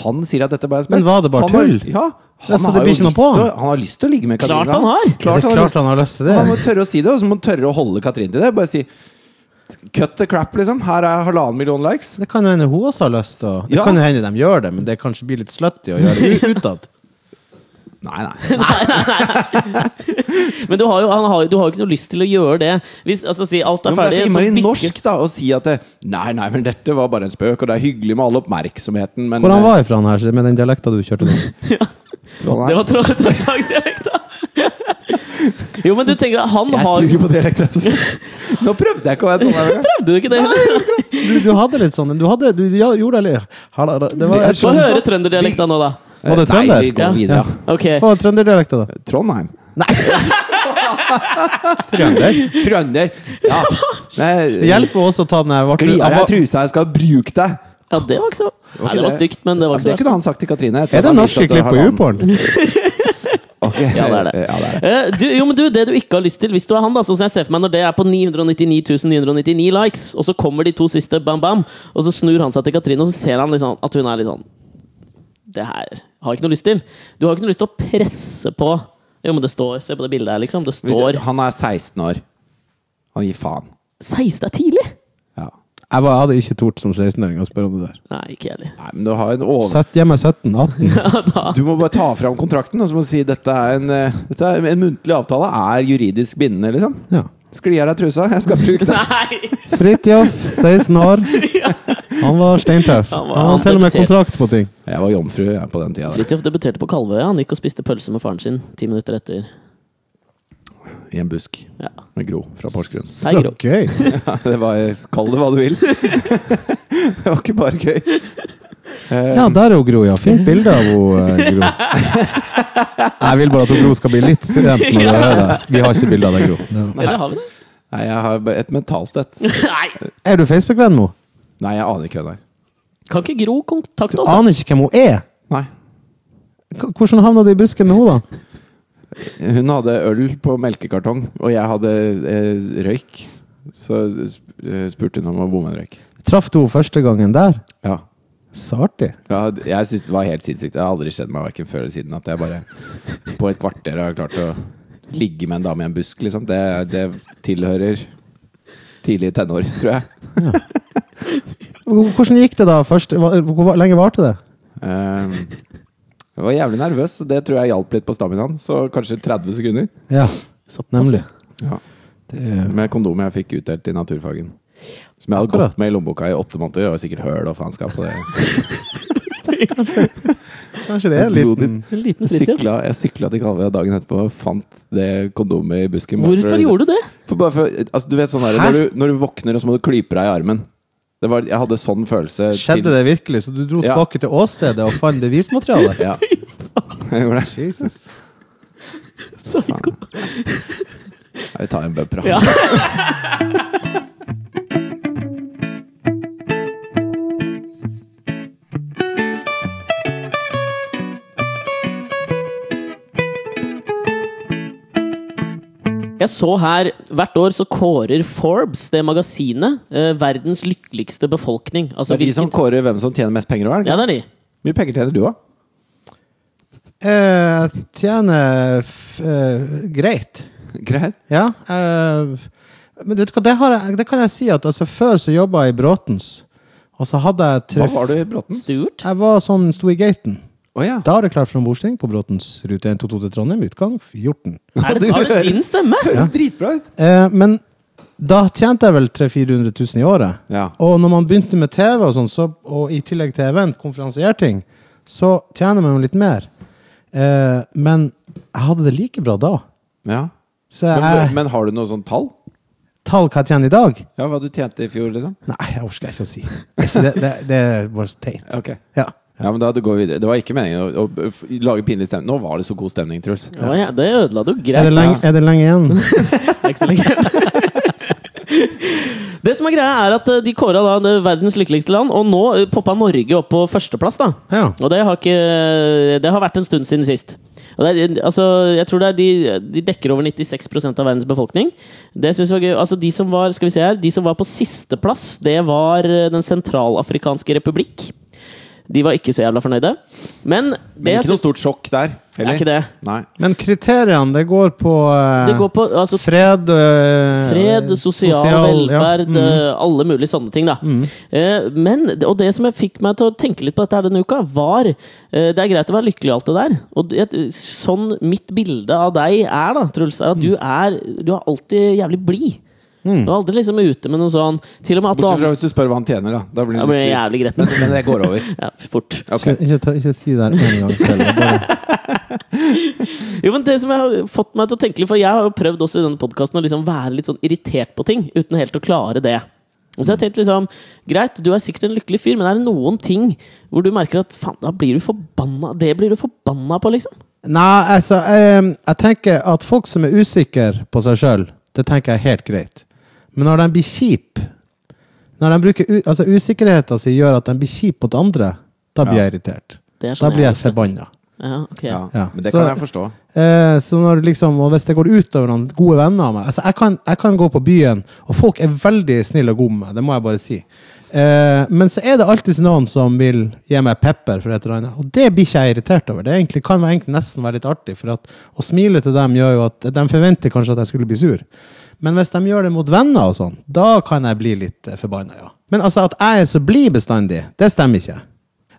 A: Han sier at dette bare er en spøk.
C: Men var det bare
A: han har-
C: tull?
A: Ja,
C: Ja, så det
A: har
C: blir
A: jo
C: ikke noe
A: lyst
C: på
A: til
C: han?
A: å- Han har lyst til å ligge med Katrine.
B: Klart han har!
C: Det er klart han har lyst til det.
A: Han må tørre å si det, og så må han tørre å holde Katrin til det. Bare si cut the crap, liksom. Her er halvannen million likes.
C: Det kan jo hende hun også har lyst til å Det
A: Ja.
C: kan jo hende de gjør det, men det kanskje blir litt slutty å gjøre det utad.
A: Nei, nei.
B: Men du har jo, han har, jo- du har jo ikke noe lyst til å gjøre det. Hvis altså, si, alt
A: Jo, men
B: er
A: det er
B: ferdig
A: så
B: så
A: innmari
B: bikker-
A: norsk da å si at det, Nei, nei, men dette var bare en spøk, og det er hyggelig med all oppmerksomheten, men eh,
C: Hvor han var ifra, han her, med den dialekta du kjørte nå?
A: Trondheim.
B: Det var Trond- Trøndelag-dialekt, da! Jo, men du tenker at han
A: Jeg
B: har
A: suger på dialekt, altså. Nå prøvde jeg ikke å være trondheimer.
B: Prøvde du ikke det?
C: Du, du hadde litt sånn Du, hadde, du ja, gjorde det litt Halla, da. Det var, sånn-
B: Få høre trønderdialekta nå, da.
C: var det
A: Nei, vi
C: trønder?
A: går videre.
C: Ja.
B: Ok.
C: Få trønderdialekta, da.
A: Trondheim.
C: Trønder?
A: Trønder. Ja.
C: Det
A: Nei,
C: hjelper også å ta den her vakre-
A: Skli av
C: av-
A: deg trusa, jeg skal bruke deg.
B: Ja, det var ikke så Nei, det var stygt, men det
A: Ja,
B: var
A: det
B: ikke så
A: kunne han sagt til Katrine. etter
C: Er
A: at
C: det
A: han
C: norske
A: visste at
C: klipp
A: det
C: på
A: var han.
C: YouPorn?
A: Ok.
B: Ja, det er det.
A: Ja, det er det.
B: Eh, Du, jo, men du, det du ikke har lyst til, hvis du er han, da, sånn som jeg ser for meg når det er på 999 999 likes, og så kommer de to siste, bam, bam, og så snur han seg til Katrine, og så ser han liksom at hun er litt sånn Det her har jeg ikke noe lyst til. Du har ikke noe lyst til å presse på Jo, men det står Se på det bildet her, liksom. Det
A: Hvis-
B: står
A: Han er 16 år. Han gir faen.
B: 16 er tidlig!
A: Ja.
C: Jeg, var, jeg hadde ikke tort som 16-åring å spørre om det der.
B: Nei, ikke jeg heller.
A: Nei, men du har en over...
C: Sett hjemme 17-18.
A: Du må bare ta fram kontrakten og så må du si dette er en, eh, dette er en muntlig avtale er juridisk bindende, liksom.
C: Ja.
A: Skli av deg trusa, jeg skal bruke det.
B: Nei!
C: Fridtjof, 16 år. Han var steintøff.
B: Han
C: Han,
B: var-
C: hadde til og med
B: han debuterte.
C: kontrakt på ting.
A: Jeg var jomfru jeg, på den tida. der.
B: Fridtjof debuterte på Kalvøya. Han gikk og spiste pølse med faren sin ti minutter etter.
A: I en busk
B: Ja.
A: med Gro fra Porsgrunn.
B: Hei,
C: Så
B: Gro.
C: gøy!
A: Ja, det var, Kall det hva du vil. Det var ikke bare gøy.
C: Ja, der er jo Gro, ja. Fint bilde av hun, eh, Gro. Jeg vil bare at hun Gro skal bli litt skremt når hun hører det. Vi har ikke bilde av deg, Gro.
B: Eller har vi det?
A: Nei, jeg har bare et mentalt et.
B: Nei!
C: Er du Facebook-venn med henne?
A: Nei, jeg aner ikke hvem det er.
B: Kan ikke Gro kontakte
C: Du
B: oss? da?
C: aner ikke hvem hun er!
A: Nei.
C: K- Hvordan havna du i busken med henne, da?
A: Hun hadde øl på melkekartong, og jeg hadde eh, røyk. Så sp- eh, spurte hun om å bomme en røyk.
C: Traff du henne første gangen der?
A: Ja.
C: Så artig.
A: Ja, d- jeg synes det var helt sinnssykt. Det har aldri skjedd meg hverken før eller siden at jeg bare på et kvarter har klart å ligge med en dame i en busk, liksom. Det, det tilhører tidlig tenår, tror jeg.
C: Hvordan gikk det da først? Hva- Hvor lenge varte det?
A: Ehm, jeg var jævlig nervøs, og det tror jeg hjalp litt på staminaen. Så kanskje 30 sekunder.
C: Ja, nemlig.
A: Ja.
C: Det er-
A: Med kondom jeg fikk utdelt i naturfagen. Som jeg hadde
C: Akkurat.
A: gått med i lommeboka i åtte måneder. Og sikkert høl og faenskap på det.
C: Kanskje det er en
A: Dro
C: liten
B: En liten Fridtjof.
A: Sykla, jeg sykla til Kalvøya dagen etterpå og fant det kondomet i busken.
B: Hvorfor gjorde du det?
A: For bare for, altså, du vet sånn der,
C: Hæ?
A: når, du, når du våkner, og så må du klype deg i armen. Det var, jeg hadde sånn følelse.
C: Skjedde det virkelig? Så du dro
A: Ja.
C: tilbake til åstedet og fant bevismateriale?
A: Ja. Jeg gjorde det.
C: Jesus.
B: Psyko.
A: Jeg vil ta en bumper.
B: Ja.
A: Ja.
B: Jeg så her, Hvert år så kårer Forbes, det magasinet, eh, verdens lykkeligste befolkning. Altså,
A: Det er de som
B: hvilken-
A: kårer hvem som tjener mest penger. Hvor
B: Ja, det er de.
A: mye penger tjener du, da?
C: Eh, tjener f eh, greit.
A: Greit.
C: Ja. eh, men vet du hva, det, har jeg, det kan jeg si at altså, før så jobba jeg i Bråtens. Og så hadde jeg
A: Hva
C: tre
A: var du i Bråten? Å
B: Sturt?
C: Jeg var sånn, sto i gaten.
A: ja.
C: Da er det klart for en bordsting på Bråtens rute 122 til Trondheim, utgang 14.
B: Er det, er det din stemme?
A: høres dritbra ut!
C: Eh, men da tjente jeg vel 300 000-400 000 i året.
A: Ja.
C: Og når man begynte med TV, og sånn, så, og i tillegg til event, konferansierting, så tjener man jo litt mer. Eh, men jeg hadde det like bra da.
A: ja.
C: Så jeg,
A: Men, men har du noe sånn tall?
C: tall hva jeg tjener i dag?
A: Ja, hva du tjente i fjor, liksom?
C: Nei, jeg orker ikke å si. Det, er ikke det, det, det er bare så teit.
A: Ok
C: Ja.
A: Ja, men da det går videre. Det var ikke meningen å, å f- lage pinlig stemning. Nå var det så god stemning, Truls.
B: Ja, ja, det ødela du
C: Er
B: greit.
C: det, lenge, er det lenge igjen?
B: Det er ikke så lenge. Det som er greia er at eh, De kåra da det verdens lykkeligste land, og nå eh, poppa Norge opp på førsteplass. da
C: Ja.
B: Og det har, ikke, det har vært en stund siden sist. Og det er, altså, jeg tror det er de, de dekker over 96 av verdens befolkning. Det synes jeg var gøy. Altså, de, som var, skal vi se her, de som var på sisteplass, det var eh, Den sentralafrikanske republikk. De var ikke så jævla fornøyde. Men det,
A: Men
B: jeg
A: ikke noe
B: synes-
A: stort sjokk der.
B: er ikke det.
A: Nei.
C: Men kriteriene, det går på eh,
B: det går på altså,
C: fred eh,
B: Fred, sosial,
C: ja.
B: velferd,
C: Mm.
B: eh, alle mulige sånne ting. da. Eh, men, Og det som jeg fikk meg til å tenke litt på dette her denne uka, var eh, Det er greit å være lykkelig og alt det der. Og det, sånn mitt bilde av deg er, da, Truls, er at du er Du er alltid jævlig blid. Du er aldri liksom ute med noe sånn Til og med at
A: Bortsett
B: du
A: fra hvis du spør hva han tjener, da. Da blir det
B: Da blir
A: litt
B: jeg
A: sur.
B: jævlig gretten.
A: Men, men det går over.
B: Ja, fort.
A: Ok.
C: Ikke, ikke, ta- ikke si det her en gang til. det er Bare,
B: Jo, men det som jeg har fått meg til å tenke litt For jeg har jo prøvd også i denne podcasten Å liksom være litt sånn irritert på ting Uten helt å klare det Og så har jeg tenkt liksom Greit, du er sikkert en lykkelig fyr Men er det noen ting Hvor du merker at Faen, da blir du forbanna Det blir du forbanna på liksom
C: nei, altså, eh, jeg tenker at folk som er usikre på seg sjøl, det tenker jeg er helt greit. Men når de blir kjipe Når de bruker u, altså usikkerheten sin gjør at de blir kjipe mot andre, da blir jeg irritert.
B: Det er sånn
C: Da blir jeg
B: er litt-
C: forbanna.
B: Ja, ok
A: Ja.
C: Ja.
A: Men det
C: Så-
A: kan jeg forstå.
C: Eh, så når det liksom, og hvis det går utover noen gode venner av meg altså jeg kan, jeg kan gå på byen, og folk er veldig snille og gode med meg, det må jeg bare si. Eh, men så er det alltid noen som vil gi meg pepper for et eller annet, og det blir ikke jeg irritert over. Det egentlig, kan være, egentlig nesten være litt artig, for at å smile til dem gjør jo at de forventer kanskje at jeg skulle bli sur. Men hvis de gjør det mot venner og sånn, da kan jeg bli litt eh, forbanna, ja. Men altså at jeg er så blid bestandig, det stemmer ikke.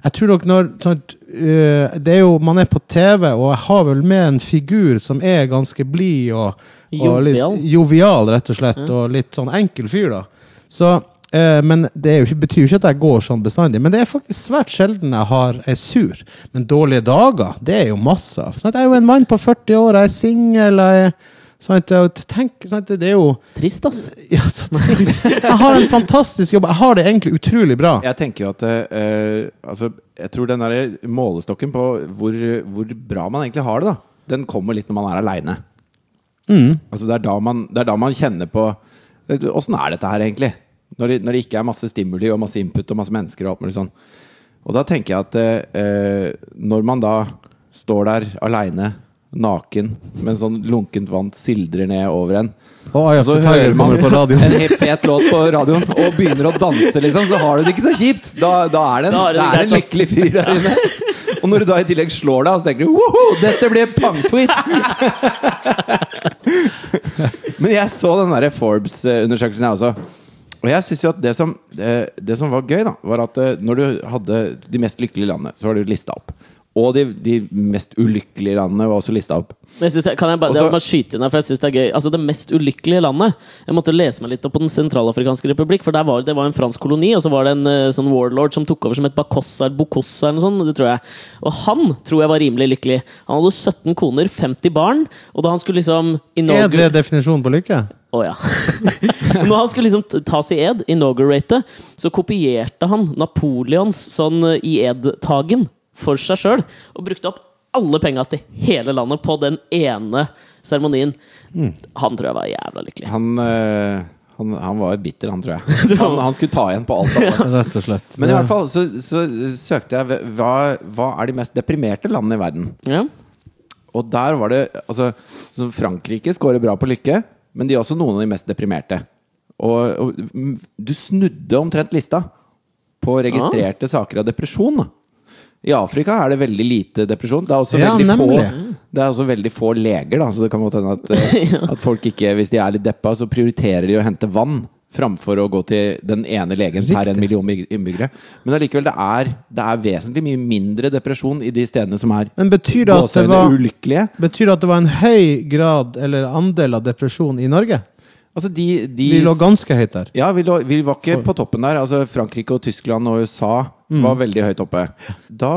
C: Jeg tror nok når sånn, øh, Det er jo Man er på TV, og jeg har vel med en figur som er ganske blid og, og litt
B: Jovial.
C: jovial, rett og slett, og litt sånn enkel fyr, da. Så øh, men det er jo ikke, betyr jo ikke at jeg går sånn bestandig. Men det er faktisk svært sjelden jeg har, er sur. Men dårlige dager, det er jo masse av. Sant? Jeg er jo en mann på 40 år, jeg er singel, jeg er sant? og tenk, sant? Det er jo
B: Trist, ass
C: ja, så tenk, Jeg har en fantastisk jobb. Jeg har det egentlig utrolig bra.
A: Jeg tenker jo at eh, Altså, jeg tror den der målestokken på hvor, hvor bra man egentlig har det, da, den kommer litt når man er aleine.
C: Mm.
A: Altså, det er, da man, det er da man kjenner på eh, Åssen er dette her, egentlig? Når det, når det ikke er masse stimuli og masse input og masse mennesker og alt mulig sånn. Og da tenker jeg at eh, når man da står der aleine, naken, mens sånn lunkent vann sildrer ned over en,
C: Og Eye
A: og
C: of
A: så
C: the Tiger
A: Altså, hører man
C: kommer på radioen.
A: en helt fet låt på radioen og begynner å danse, liksom, så har du det ikke så kjipt. Da, da er det en,
B: Da er det
A: det er en
B: greit, ass.
A: lykkelig fyr der inne. Og når du da i tillegg slår deg, så tenker du woho, dette blir pang-tweet! Men jeg så den derre Forbes-undersøkelsen, jeg også. Og jeg synes jo at det som, eh, det som var gøy, da, var at eh, når du hadde de mest lykkelige landene, så var det jo lista opp. Og de, de mest ulykkelige landene var også lista opp.
B: Men jeg synes det, kan jeg bare,
A: Også-
B: jeg må bare skyte inn her, for jeg synes det er gøy. Altså, det mest ulykkelige landet Jeg måtte lese meg litt opp på Den sentralafrikanske republikk, for der var, det var en fransk koloni, og så var det en eh, sånn warlord som tok over som het Bakossa eller Bokossa eller noe sånt, det tror jeg. Og han tror jeg var rimelig lykkelig. Han hadde 17 koner, 50 barn, og da han skulle liksom
C: Er
B: inaugur-
C: det definisjonen på lykke?
B: å ja. Når han skulle liksom t- tas i ed, inaugurate, så kopierte han Napoleons sånn eh, i ed-tagen for seg sjøl. Og brukte opp alle penga til hele landet på den ene seremonien. Han tror jeg var jævla lykkelig.
A: Han, eh, han, han var bitter, han, tror jeg. Han, han skulle ta igjen på alt. Han.
C: Rett og slett.
A: Men i hvert fall så, så søkte jeg hva, hva er de mest deprimerte landene i verden.
B: Ja.
A: Og der var det altså, så Frankrike scorer bra på lykke, men de er også noen av de mest deprimerte. Og, og mm, du snudde omtrent lista på registrerte saker av depresjon. da. I Afrika er det veldig lite depresjon. Det er også,
C: Ja,
A: veldig, få,
C: nemlig.
A: det er også veldig få leger, da, så det kan godt hende at, eh, at folk ikke, hvis de er litt deppa, så prioriterer de å hente vann framfor å gå til den ene legen per
C: Riktig.
A: en million innbyggere. Men allikevel, det er, det er vesentlig mye mindre depresjon i de stedene som er
C: Men betyr det at det
A: gåseøyne
C: var
A: ulykkelige.
C: Betyr det at det var en høy grad eller andel av depresjon i Norge?
A: Altså, de, de
C: Vi lå ganske høyt der.
A: Ja, vi, lå, vi var ikke på toppen der. Altså, Frankrike og Tyskland og USA var veldig høyt oppe. Da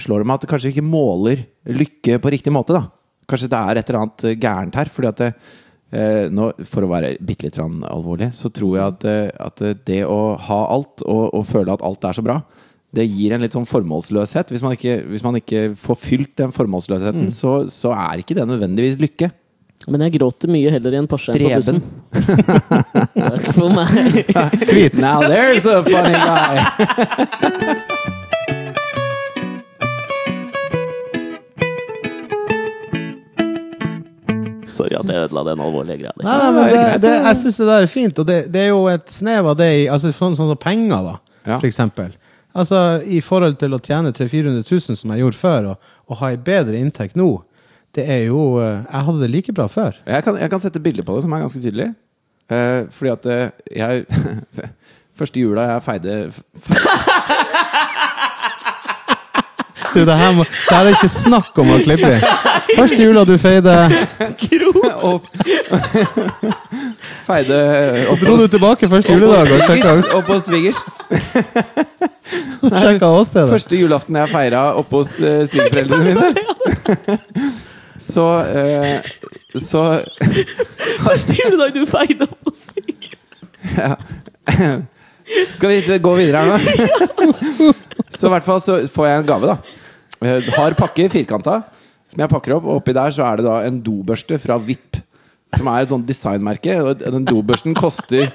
A: slår det meg at det kanskje ikke måler lykke på riktig måte. da. Kanskje det er et eller annet eh, gærent her. fordi at det, eh, nå, For å være bitte litt grann alvorlig, så tror jeg at, eh, at eh, det å ha alt og, og føle at alt er så bra, det gir en litt sånn formålsløshet. Hvis man ikke, hvis man ikke får fylt den formålsløsheten, så, så er ikke det nødvendigvis lykke.
B: Men jeg gråter mye heller i en Porsche enn på bussen.
A: Streben.
B: Takk for meg.
A: Now there's a funny guy!
B: Sorry at jeg ødela den alvorlige greia di.
C: Nei, nei, men det, det, jeg syns det der er fint, og det, det er jo et snev av det i altså, sånn, sånn som penger, da,
A: Ja.
C: for eksempel. Altså, I forhold til å tjene 300 000-400 000 som jeg gjorde før, og, og ha ei bedre inntekt nå, det er jo eh, Jeg hadde det like bra før.
A: Jeg kan, jeg kan sette bilder på det som er ganske tydelig. Eh, fordi at eh, jeg Første jula jeg feide
C: Du, det her, må, det her er ikke snakk om å klippe i. Første jula du feide,
A: opp, Feide opp
C: dro du
A: på-
C: tilbake første juledag og sjekka,
A: svigers, opp hos svigers.
C: sjekka åstedet.
A: Første julaften jeg feira oppe hos uh, svigerforeldrene mine. Så eh, Så
B: Første juledag du feide opp hos sviger.
A: Skal vi gå videre her nå? så i hvert fall så får jeg en gave, da. Eh, Hard pakke, firkanta, som jeg pakker opp. Og oppi der så er det da en dobørste fra VIP, som er et sånt designmerke. Og den dobørsten koster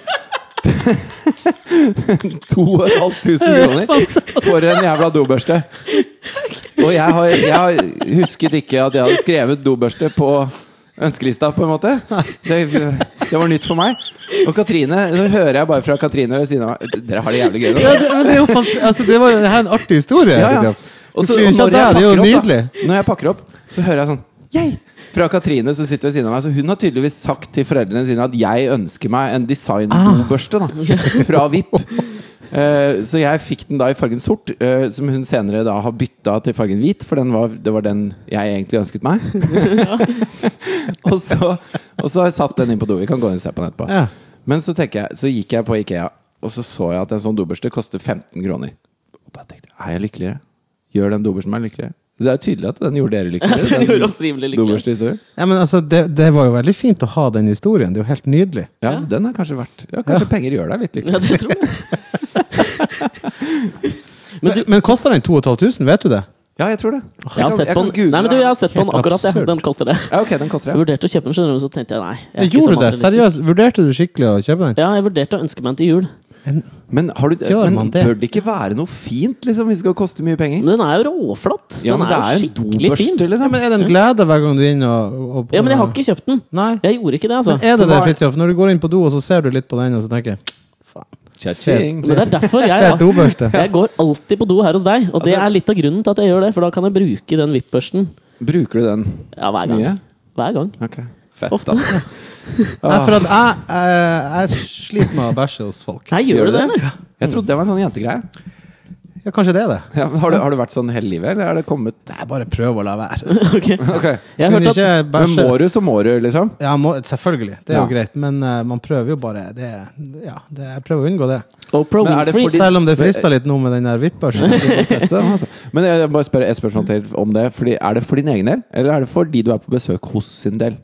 A: 2500 kroner for en jævla dobørste. Og jeg har, jeg har husket ikke at jeg hadde skrevet dobørste på ønskelista, på en måte. Det, det var nytt for meg. Og Katrine, nå hører jeg bare fra Katrine ved siden av meg Dere har det jævlig gøy nå.
C: Ja, det, men det er jo fant altså, det, var, det her er en artig historie.
A: Ja, ja.
C: Jakob.
A: Og så-
C: Du flirer
A: og
C: ikke av
A: når jeg
C: det, det er jo
A: pakker opp,
C: nydelig.
A: Da, når jeg pakker opp, så hører jeg sånn Yay! Fra Katrine som sitter ved siden av meg. Så hun har tydeligvis sagt til foreldrene sine at jeg ønsker meg en design-dobørste da, fra VIP. Eh, så jeg fikk den da i fargen sort, eh, som hun senere da har bytta til fargen hvit, for den var, det var den jeg egentlig ønsket meg. og, så, og så har jeg satt den inn på do. Vi kan gå inn og se på den etterpå.
C: Ja.
A: Men så, tenker jeg, så gikk jeg på Ikea, og så så jeg at en sånn dobørste koster 15 kroner. Og da tenkte jeg, er jeg lykkeligere? Gjør den dobørsten meg lykkeligere? Det er jo tydelig at den gjorde dere lykkeligere.
B: Den gjorde oss rimelig lykkelige.
A: dobørste historien.
C: Ja, men altså, det, det var jo veldig fint å ha den historien. Det er jo helt nydelig.
A: Ja, så den er kanskje verdt Ja, kanskje penger gjør deg litt
B: Ja,
A: lykkelig.
B: det tror jeg. Men
C: Men, men kosta den 2500, vet du det?
A: Ja, jeg tror det.
B: Jeg har
A: kan-
B: sett
A: jeg
B: på
A: kan
B: den.
A: google
B: Nei, men du,
A: det.
B: jeg har sett på den
C: Helt
B: akkurat, jeg.
C: absurd.
B: Den koster det.
A: Ja, ok, den koster
B: Jeg
A: det.
B: vurderte å kjøpe den, skjønner du, men så tenkte jeg nei. jeg er ikke
C: Gjorde
B: så
C: du det?
B: materialistisk.
C: Seriøst, vurderte du skikkelig å kjøpe den?
B: Ja, jeg vurderte å ønske meg den til jul.
A: Men, har du,
C: Gjør
A: men
C: man det?
A: bør det ikke være noe fint, liksom, hvis det skal koste mye penger?
B: Men den er jo råflott.
A: Ja,
B: Den
A: men det
B: er
A: er
B: jo
A: en
B: skikkelig fin.
A: dobørste,
C: Ja,
A: liksom.
C: men Er det en glede hver gang du er inne og, og på,
B: Ja, men jeg har ikke kjøpt den.
C: Nei.
B: Jeg gjorde ikke det, altså.
C: Men
A: For
C: er det det,
A: hva er-
C: Fridtjof? Når du går inn på do, og så ser du litt på den, og så tenker jeg
A: Cha-ching.
B: Men det er derfor jeg,
C: Helt dobørste.
B: jeg går alltid på do her hos deg. Og det
A: Altså-
B: er litt av grunnen til at jeg gjør det, for da kan jeg bruke den vippbørsten
A: Bruker du den?
B: ja, hver gang.
A: Mye?
B: Hver gang.
A: Ok. Fett,
B: Ofte.
A: ass. Ah.
C: Nei, for at jeg, eh, jeg sliter med å bæsje hos folk.
B: Nei, gjør du det, eller?
A: Jeg trodde det var en sånn jentegreie.
C: Ja, kanskje det er det.
A: Ja, men har, du, har du vært sånn hele livet, eller er det kommet
C: Jeg bare prøver å la være.
B: Ok.
A: Ok.
B: Jeg
C: Men
B: hørte at
C: ikke
A: Men
C: bæsje.
A: må du, så må du, liksom.
C: Ja, må, selvfølgelig. Det er
A: Ja.
C: jo greit. Men eh, man prøver jo bare det, ja, det, Jeg prøver å unngå det.
B: Oprah
A: Men er det
B: Winfrey
A: fordi-
C: Selv om det frister litt nå med den der vippbørsen.
A: Teste den, altså. Men jeg jeg bare spør et spørsmål til om det. Fordi, er det for din egen del, eller er det for de du er på besøk hos sin del?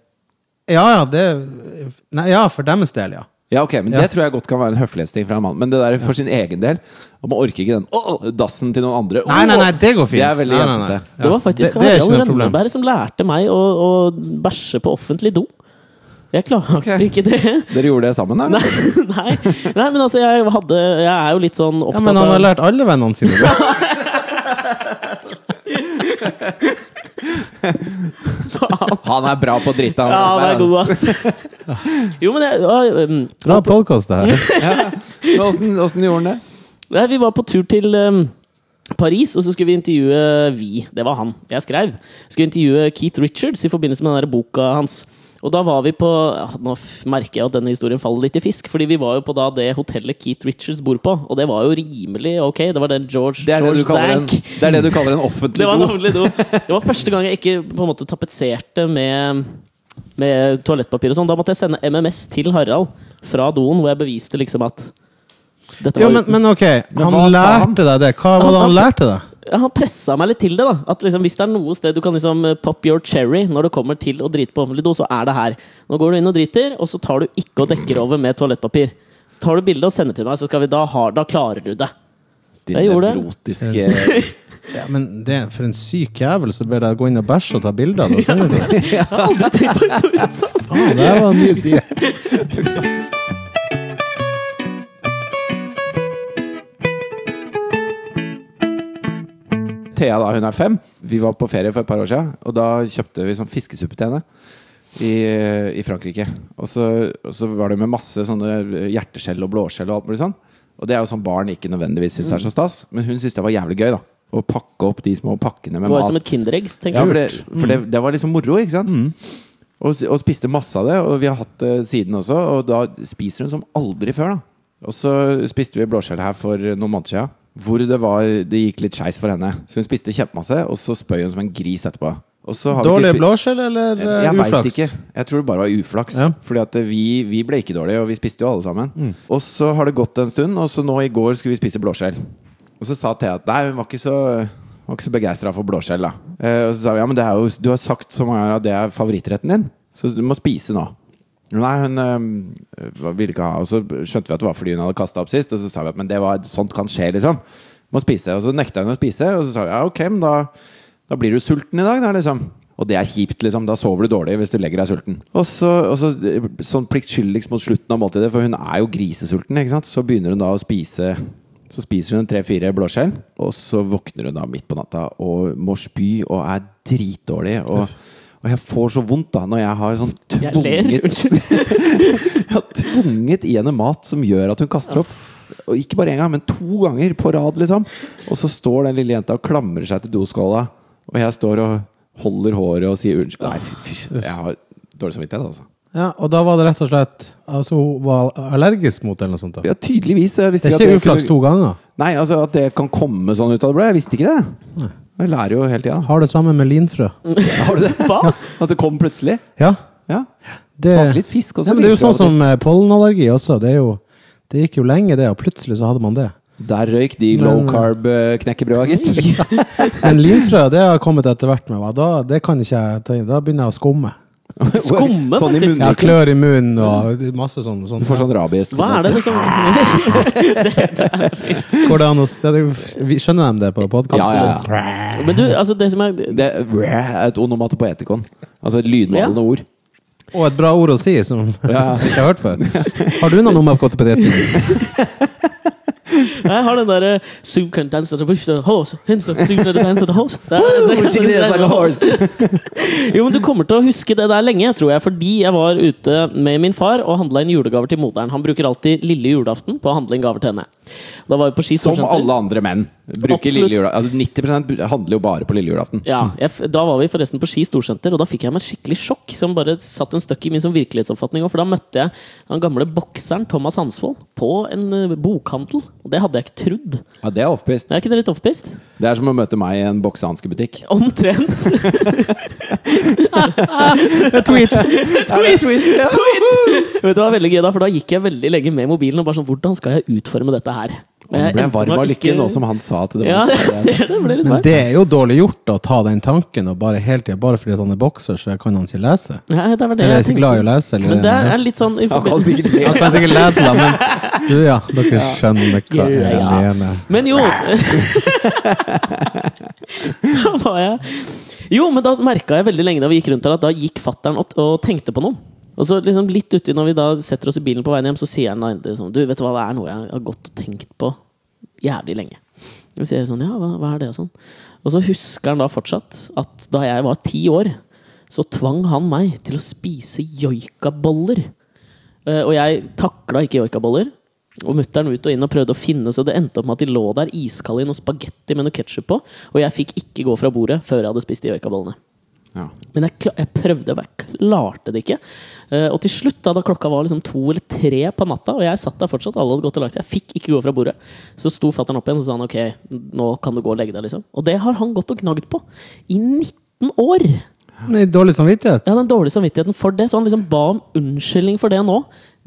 C: Ja, ja, det Nei, ja, for deres del, ja.
A: Ja, ok, men
C: Ja.
A: Det tror jeg godt kan være en høflighetsting fra en mann. Men det der for sin egen del Og man orker ikke den «Åh, dassen til noen andre.
C: Nei, nei, nei,
A: Åh!»
C: det går fint.
A: Det er veldig
C: Nei, nei, nei.
A: jentete.
C: Ja.
B: Det var faktisk
C: det, det er ikke
B: Harald
C: noe problem.
B: Rønneberg som lærte meg å, å bæsje på offentlig do. Jeg klarte
A: Ok.
B: ikke det.
A: Dere gjorde det sammen,
B: Nei,
A: eller?
B: nei, nei, men altså, jeg, hadde, jeg er jo litt sånn
C: Ja,
B: opptatt
C: men han har
B: av
C: lært alle vennene sine det.
B: Faen.
A: Han er bra på å drite. han.
B: Ja, han er god, ass. Jo, men jeg, ja, um,
C: Bra podkast, det her.
A: Men Åssen åssen gjorde han det?
B: nei, Vi var på tur til um, Paris, og så skulle vi intervjue uh, vi. Det var han. Jeg skrev. Skulle intervjue Keith Richards i forbindelse med den der boka hans. Og da var vi på ja, Nå f- merker jeg at denne historien faller litt i fisk. Fordi vi var jo på da det hotellet Keith Richards bor på, og det var jo rimelig ok. Det var den George,
A: Det er det, du
B: George
A: kaller en,
B: Zank.
A: det er det du kaller en offentlig
B: Det var en
A: do.
B: offentlig do. Det var første gang jeg ikke på en måte tapetserte med, med toalettpapir og sånn. Da måtte jeg sende MMS til Harald fra doen, hvor jeg beviste liksom at dette var
C: Jo, men, men ok, han
A: hva sa han?
C: lærte deg det. Hva var det han lærte deg?
B: ja, Han pressa meg litt til det. da At liksom, Hvis det er noe sted du kan liksom eh, pop your cherry når det kommer til å drite på offentlig do, så er det her. Nå går du inn og driter, og så tar du ikke og dekker over med toalettpapir. Så tar du bilde og sender til meg, så skal vi da ha Da klarer du det.
A: Din
B: Jeg gjorde det.
A: nevrotiske
C: Ja, men det, For en syk jævel som ber deg gå inn og bæsje og ta bilder av det og sende det.
B: Jeg har aldri tenkt på historien sånn.
C: Faen, det var en ny side.
A: Thea da hun er fem. Vi var på ferie for et par år siden, og da kjøpte vi sånn fiskesuppe til henne. I, I Frankrike. Og så, og så var det med masse sånne hjerteskjell og blåskjell og alt mulig sånn. Og det er jo sånn barn ikke nødvendigvis syns
B: Mm.
A: er så stas, men hun syntes det var jævlig gøy, da. Å pakke opp de små pakkene med
B: Det var
A: mat.
B: jo som et Kinderegg. tenker
A: Ja, for det,
B: jeg.
A: for det, det var liksom moro, ikke sant? Og, s- og spiste masse av det, og vi har hatt det siden også. Og da spiser hun som aldri før, da. Og så spiste vi blåskjell her for noen måneder siden. Hvor det, var, det gikk litt skeis for henne. Så hun spiste kjempemasse, og så spøy hun som en gris etterpå. Og så har vi ikke
C: Dårlig
A: spi-
C: blåskjell eller eh,
A: jeg veit
C: uflaks?
A: ikke. Jeg tror det bare var uflaks.
C: Ja. Mm.
A: Fordi at eh, vi, vi ble ikke dårlige, og vi spiste jo alle sammen. Og så har det gått en stund, og så nå i går skulle vi spise blåskjell. Og så sa Thea at nei, hun var ikke så var ikke så begeistra for blåskjell, da. Eh, og så sa vi ja, men det er jo, du har sagt så mange ganger at det er favorittretten din, så du må spise nå. Nei, hun eh, ville ikke ha Og så skjønte vi at det var fordi hun hadde kasta opp sist, og så sa vi at men det var, sånt kan skje, liksom. Må spise. Og så nekta hun å spise, og så sa vi ja, ok, men da da blir du sulten i dag, da, liksom. Og det er kjipt, liksom. Da sover du dårlig hvis du legger deg sulten. Og så, og så eh, sånn pliktskyldigst mot slutten av måltidet, for hun er jo grisesulten, ikke sant. Så begynner hun da å spise Så spiser hun tre-fire blåskjell, og så våkner hun da midt på natta og må spy og er dritdårlig. Og, og jeg får så vondt da når jeg har sånn
B: Jeg ler.
A: tvunget
B: Unnskyld.
A: jeg har tvunget i henne mat som gjør at hun kaster opp. Og ikke bare én gang, men to ganger på rad, liksom. Og så står den lille jenta og klamrer seg til doskåla, og jeg står og holder håret og sier unnskyld. Nei, fy, fy. Jeg har dårlig samvittighet, altså.
C: Ja, og da var det rett og slett Altså hun var allergisk mot det eller noe sånt? da
A: Ja, tydeligvis. Jeg visste
C: Det er
A: at
C: ikke
A: det
C: uflaks
A: kunne-
C: to ganger.
A: Nei, altså at det kan komme sånn ut av det blå. Jeg visste ikke det. Jeg lærer jo hele tida.
C: Har det samme med linfrø.
A: Har du det? At det kom plutselig?
C: Ja,
A: Ja.
C: det,
A: Smaker litt fisk også.
C: ja, men det er jo
A: liker jeg av
C: sånn
A: og
C: som eh, pollenallergi også. Det, er jo, det gikk jo lenge, det, og plutselig så hadde man det.
A: til. Der røyk de
C: Men-
A: low carb-knekkebrøda, gitt.
C: Men linfrø det har kommet etter hvert med meg. Da, det kan ikke jeg ta inn. Da begynner jeg å skumme.
B: Skumme,
A: sånn i
B: faktisk.
C: Jeg har
A: munnviken.
C: klør i munnen og masse sånn. sånn.
A: Du får sånn rabies.
B: Hva er det liksom
C: Går det an å det, er jo- vi- Skjønner de det på podkast?
A: Ja, ja,
B: Men du, altså det som er
A: Det er et onomatopoetikon. Altså et lydmalende ord.
C: Og et bra ord å si som
A: Ja.
C: jeg ikke har hørt før. Har du noen nummer på ditt?
B: Jeg har den eh, derre Jo, men du kommer til å huske det der lenge, tror jeg. Fordi jeg var ute med min far og handla inn julegaver til moderen. Han bruker alltid lille julaften på å handle inn gaver til henne. Da var vi på ski
A: Som
B: storsenter.
A: alle andre menn. Bruker
B: Absolutt.
A: lille jula. Altså 90 handler jo bare på lille julaften.
B: Ja, jeg, f- Da var vi forresten på Ski storsenter, og da fikk jeg meg et skikkelig sjokk. Som bare satt en støkk i min sånn virkelighetsoppfatning. også, For da møtte jeg den gamle bokseren Thomas Hansvold på en eh, bokhandel. Og det hadde jeg ikke trodd.
A: Ja, Det er off-pist.
B: Er ikke det litt offpist?
A: Det er som å møte meg i en boksehanskebutikk.
B: Omtrent.
A: Tweet, tweet, ja.
B: Vet du hva var veldig gøy da? For da gikk jeg veldig lenge med mobilen og bare sånn Hvordan skal jeg utforme dette her? Og
A: Han
B: jeg
A: ble
B: endte
A: varm
B: meg
A: av lykke
B: ikke-
A: nå som han sa at det
B: Ja,
A: var
B: jeg ser det. Ble litt
C: Men
B: varm.
C: det er jo dårlig gjort å ta den tanken og bare hele tiden, bare fordi at han er bokser, så kan han ikke lese.
B: Nei, det var det
C: Eller er
B: jeg
C: ikke
B: tenkte.
C: glad i å lese, eller? altså,
B: Men det er litt sånn i
A: Han kan
B: forbindelse-
A: sikkert le.
C: Han kan sikkert lese, da, men du, ja. Dere skjønner hva
B: Ja,
C: jeg
B: ja.
C: mener.
B: Men jo Da var jeg Jo, men da merka jeg veldig lenge da vi gikk rundt her, at da gikk fattern og, og tenkte på noe. Og så liksom litt uti når vi da setter oss i bilen på veien hjem, så sier han da sånn Du, vet du hva, det er noe jeg har gått og tenkt på jævlig lenge. Og sier sånn, ja, hva, hva er det og sånn? Og så husker han da fortsatt at da jeg var ti år, så tvang han meg til å spise joikaboller. Eh, og jeg takla ikke joikaboller. Og mutter'n ut og inn og prøvde å finne, så det endte opp med at de lå der iskalde i noe spagetti med noe ketsjup på, og jeg fikk ikke gå fra bordet før jeg hadde spist de joikabollene.
A: Ja.
B: Men jeg, kla- jeg prøvde, men jeg klarte det ikke. Eh, og til slutt, da, da klokka var liksom to eller tre på natta, og jeg satt der fortsatt, alle hadde gått og lagt seg, jeg fikk ikke gå fra bordet, så sto fatter'n opp igjen og sa han ok, nå kan du gå og legge deg, liksom. Og det har han gått og gnagd på i 19 år!
C: Med dårlig samvittighet?
B: Jeg hadde den dårlige samvittigheten for det, så han liksom ba om unnskyldning for det nå.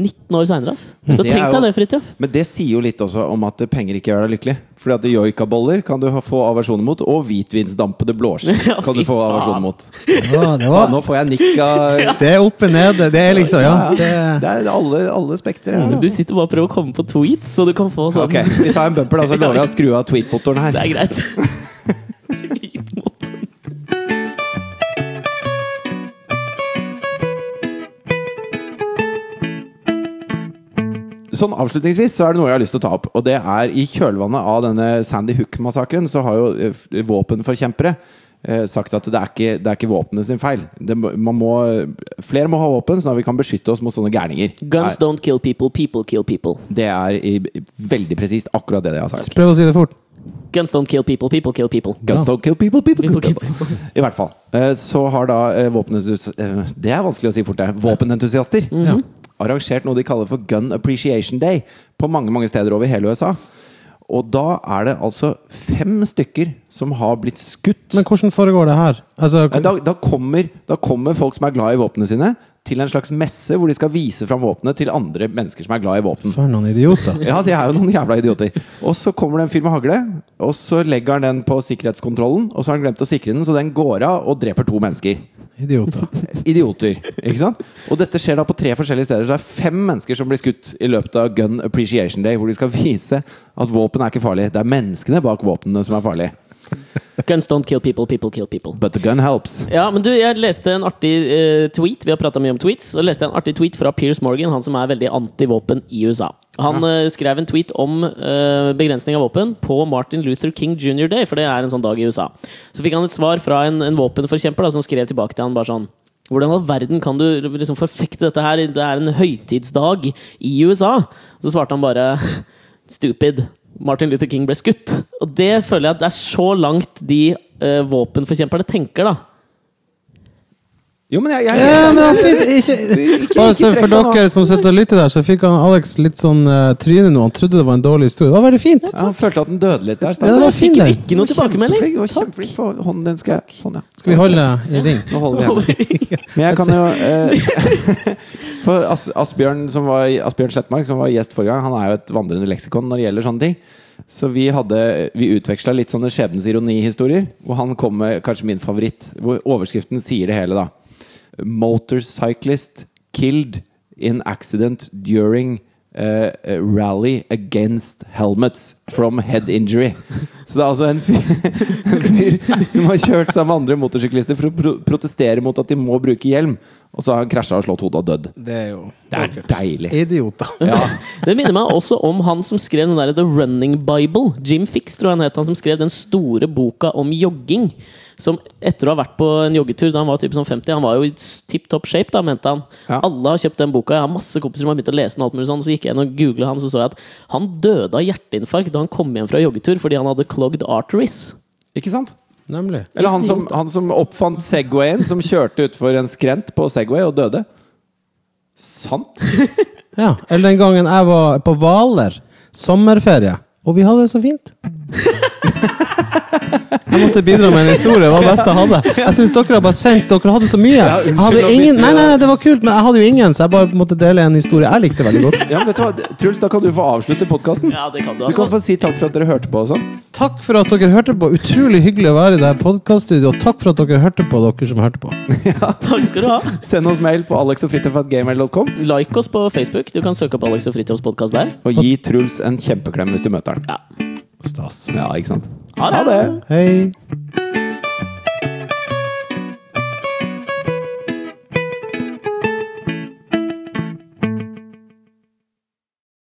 B: 19 år seinere, ass. Så
A: Det er
B: tenk
A: jo-
B: deg det, Fridtjof.
A: Men det sier jo litt også om at penger ikke gjør deg lykkelig. Fordi at joikaboller kan du ha- få aversjon mot, og hvitvinsdampede blåskjell
B: Ja,
A: kan du
B: fy
A: få
B: faen.
A: aversjon mot.
C: Ja, det,
A: Ja,
C: var,
A: nå får jeg nikk av
C: det er opp og nede. Det er liksom, ja. Det,
A: Det er alle, alle spekter. her,
B: Du
A: altså.
B: sitter bare og prøver å komme på tweets, så du kan få sånn.
A: Ok, vi tar en bumper, da, så lover jeg å skru av tweetmotoren her.
B: Det er greit. Til hvilken måte?
A: Sånn Avslutningsvis så er det noe jeg har lyst til å ta opp. Og det er I kjølvannet av denne Sandy Hook-massakren så har jo eh, f- våpenforkjempere eh, sagt at det er ikke, det er ikke våpenet sin feil. Det, må- man må, flere må ha våpen, sånn at vi kan beskytte oss mot sånne gærninger.
B: Guns
A: Nei,
B: don't kill people, people kill people.
A: Det er i, veldig presist akkurat det jeg har sagt.
C: prøv å si det fort.
B: Guns don't kill people, people kill people.
A: Guns don't kill people, people kill
B: People kill
A: people. I hvert fall. Eh, Så har da eh, våpenes- eh, Det er vanskelig å si fort, det. Våpenentusiaster. Arrangert noe de kaller for Gun Appreciation Day på mange mange steder over hele USA. Og da er det altså fem stykker som har blitt skutt.
C: Men hvordan foregår det her? Altså,
A: Nei, Da, da, kommer, da kommer folk som er glad i våpnene sine, til en slags messe hvor de skal vise fram våpenet til andre mennesker som er glad i våpen.
C: for noen idioter.
A: Ja, de er jo noen jævla idioter. Og så kommer det en fyr med hagle, og så legger han den på sikkerhetskontrollen, og så har han glemt å sikre den, så den går av og dreper to mennesker.
C: Idioter.
A: Idioter. Ikke sant? Og dette skjer da på tre forskjellige steder, så det er fem mennesker som blir skutt i løpet av Gun Appreciation Day, hvor de skal vise at våpen er ikke farlig. Det er menneskene bak våpnene som er farlige.
B: Guns don't kill people, people kill people.
A: But the gun helps.
B: Ja, men du, jeg leste en artig eh, tweet. Vi har prata mye om tweets. Så leste jeg en artig tweet fra Piers Morgan, han som er veldig antivåpen i USA. Han eh, skrev en tweet om eh, begrensning av våpen på Martin Luther King Jr. Day, for det er en sånn dag i USA. Så fikk han et svar fra en, en våpenforkjemper da, som skrev tilbake til han bare sånn hvordan i all verden kan du liksom forfekte dette her? Det er en høytidsdag i USA! Så svarte han bare Stupid. Martin Luther King ble skutt. Og det føler jeg at det er så langt de eh, våpenforkjemperne tenker, da.
A: Jo, men jeg, jeg,
C: Ja, men det er fint. Ikke, bare så
A: trekk
C: for
A: deg nå.
C: dere som sitter og lytter der, så fikk han Alex litt sånn eh, tryne nå. Han trodde det var en dålig historie. Det var veldig fint.
A: Ja, han følte at den døde litt der.
C: Ja, det
A: Stein.
C: var
B: Jeg fikk
C: fin,
B: jo
C: den.
B: ikke noe tilbakemelding!
A: Kjempeflink, du var kjempeflink på hånden din. Skal jeg Sånn, ja.
C: Skal vi holde i ring?
A: Nå holder vi igjen. Men jeg kan jo eh, For As Asbjørn, som var, Asbjørn Slettmark, som var gjest forrige gang, han er jo et vandrende leksikon når det gjelder sånne ting. Så vi, hadde, vi utveksla litt sånne skjebnens ironihistorier, og han kom med kanskje min favoritt, hvor overskriften sier det hele, da. Motorcyclist killed in accident during eh, rally against helmets from head injury. Så det er altså en fyr, en fyr som har kjørt sammen med andre motorsyklister for å pro protestere mot at de må bruke hjelm, og så har han krasja og slått hodet og dødd.
C: Det er jo
A: Det er deilig.
C: Idioter.
A: Ja.
B: Det minner meg også om han som skrev den der The Running Bible. Jim Fix, tror jeg han het. Han som skrev den store boka om jogging. Som etter å ha vært på en joggetur da han var typ sånn 50 Han var jo i tipp topp shape, da, mente han.
A: Ja.
B: Alle har kjøpt den boka. Jeg har masse kompiser som har begynt å lese den. og alt mulig sånn Så gikk jeg inn og googlet han, så så jeg at han døde av hjerteinfarkt da han kom hjem fra joggetur fordi han hadde clogged arteries.
A: Ikke sant?
C: Nemlig.
A: Eller han som, han som oppfant Segwayen, som kjørte utfor en skrent på Segway og døde. Sant?
C: Ja. Eller den gangen jeg var på Hvaler, sommerferie, og vi hadde det så fint. Jeg måtte bidra med en historie. Det var det beste jeg hadde. Jeg syns dere har bare sendt Dere hadde så mye.
A: unnskyld,
C: Jeg hadde
A: da
C: ingen
A: bytter
C: Nei,
A: jeg-
C: nei, nei, det var kult, men jeg hadde jo ingen, så jeg bare måtte dele en historie jeg likte veldig godt.
A: Ja, men vet du hva? Truls, da kan du få avslutte podkasten.
B: Ja, det kan du,
A: Du kan
B: altså.
A: få si takk for at dere hørte på og sånn.
C: Takk for at dere hørte på. Utrolig hyggelig å være i det her podkaststudioet. Og takk for at dere hørte på, dere som hørte på.
B: Takk skal du ha.
A: Send oss mail på alexogfritjofatgmail.com,
B: Like oss på Facebook. Du kan søke opp Alex og Fritjofs podkast der.
A: og gi Truls en kjempeklem hvis du møter han.
B: Ja.
C: Stas.
A: Ja, ikke sant?
B: Ha det.
C: Hei.